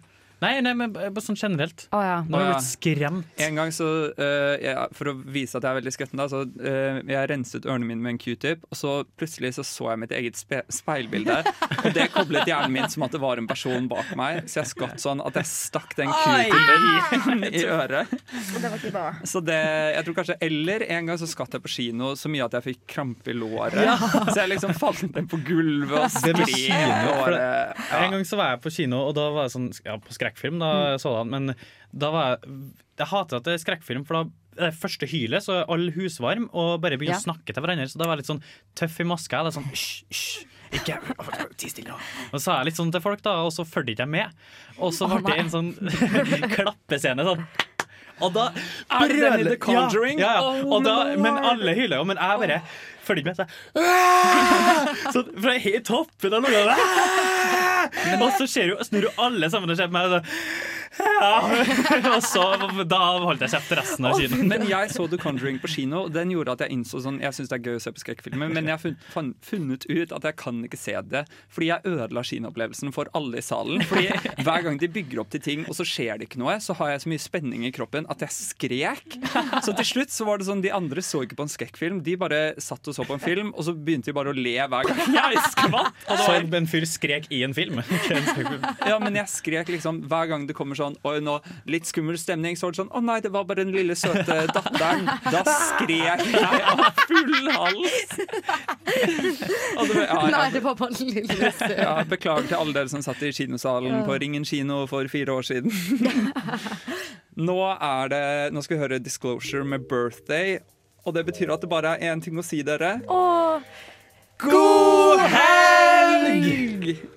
S7: Nei, nei, men bare sånn generelt.
S16: Å ja.
S7: Nå har jeg blitt skremt.
S15: En gang så, eh, jeg, For å vise at jeg er veldig skvetten, da, så eh, jeg renset ørene mine med en q-tip, og så plutselig så, så jeg mitt eget spe speilbilde. Og det koblet hjernen min som at det var en person bak meg, så jeg skvatt sånn at jeg stakk den q-tipen i øret.
S16: Det var ikke bra.
S15: Så det, jeg tror kanskje, Eller en gang så skvatt jeg på kino så mye at jeg fikk krampe i låret.
S7: Ja.
S15: Så jeg liksom falt ned på gulvet og
S7: Det med
S15: skrek.
S7: kino, for det-
S15: låret. Ja.
S7: En gang så var jeg på kino, og da var jeg sånn ja, på skrekkfilm, da, sådan, men da var jeg Jeg hater at det er skrekkfilm, for da det er første hylet, så er alle husvarm og bare begynner
S16: Ja.
S7: å snakke til hverandre. Så da var jeg litt sånn tøff i maska. Eller sånn hysj, hysj, ikke Ti stille nå. Og så sa jeg litt sånn til folk, da, og så fulgte ikke jeg med. Og så
S16: Å,
S7: ble det
S16: nei.
S7: en sånn klappescene sånn. Og da
S15: Er den i The Conjuring?
S7: Ja, ja, ja.
S15: Oh,
S7: Og da, men
S15: lord.
S7: alle hyler jo, men jeg bare følger ikke med. Så jeg, så fra helt toppen av lungene «Æ!» Og så ser jo, snur jo alle sammen og ser på meg. og Så, ja. Og så da holdt jeg kjeft resten av kinoen.
S15: Men jeg så The Conjuring på kino, og den gjorde at jeg innså sånn Jeg syns det er gøy å se på skrekkfilmer, men jeg har funnet, fan- funnet ut at jeg kan ikke se det. Fordi jeg ødela kinoopplevelsen for alle i salen. Fordi hver gang de bygger opp til ting, og så skjer det ikke noe, så har jeg så mye spenning i kroppen at jeg skrek. Så til slutt så var det sånn De andre så ikke på en skrekkfilm, de bare satt og så på en film, og så begynte de bare å le hver gang. Jeg skvatt! Og det var
S7: Sorg, en fyr skrek i en film.
S15: ja, men jeg skrek liksom hver gang det kommer sånn Oi, nå, litt skummel stemning. Så var det sånn Å nei, det var bare den lille søte datteren. Da skrek jeg av full hals. Og det var- ja,
S17: Nei,
S15: ja.
S17: det var bare en lille søt.
S15: Ja, beklager til alle dere som satt i kinosalen på Ringen kino for fire år siden. Nå, er det, nå skal vi høre Disclosure med 'Birthday', og det betyr at det bare er én ting å si, dere.
S5: Åh,
S15: God helg!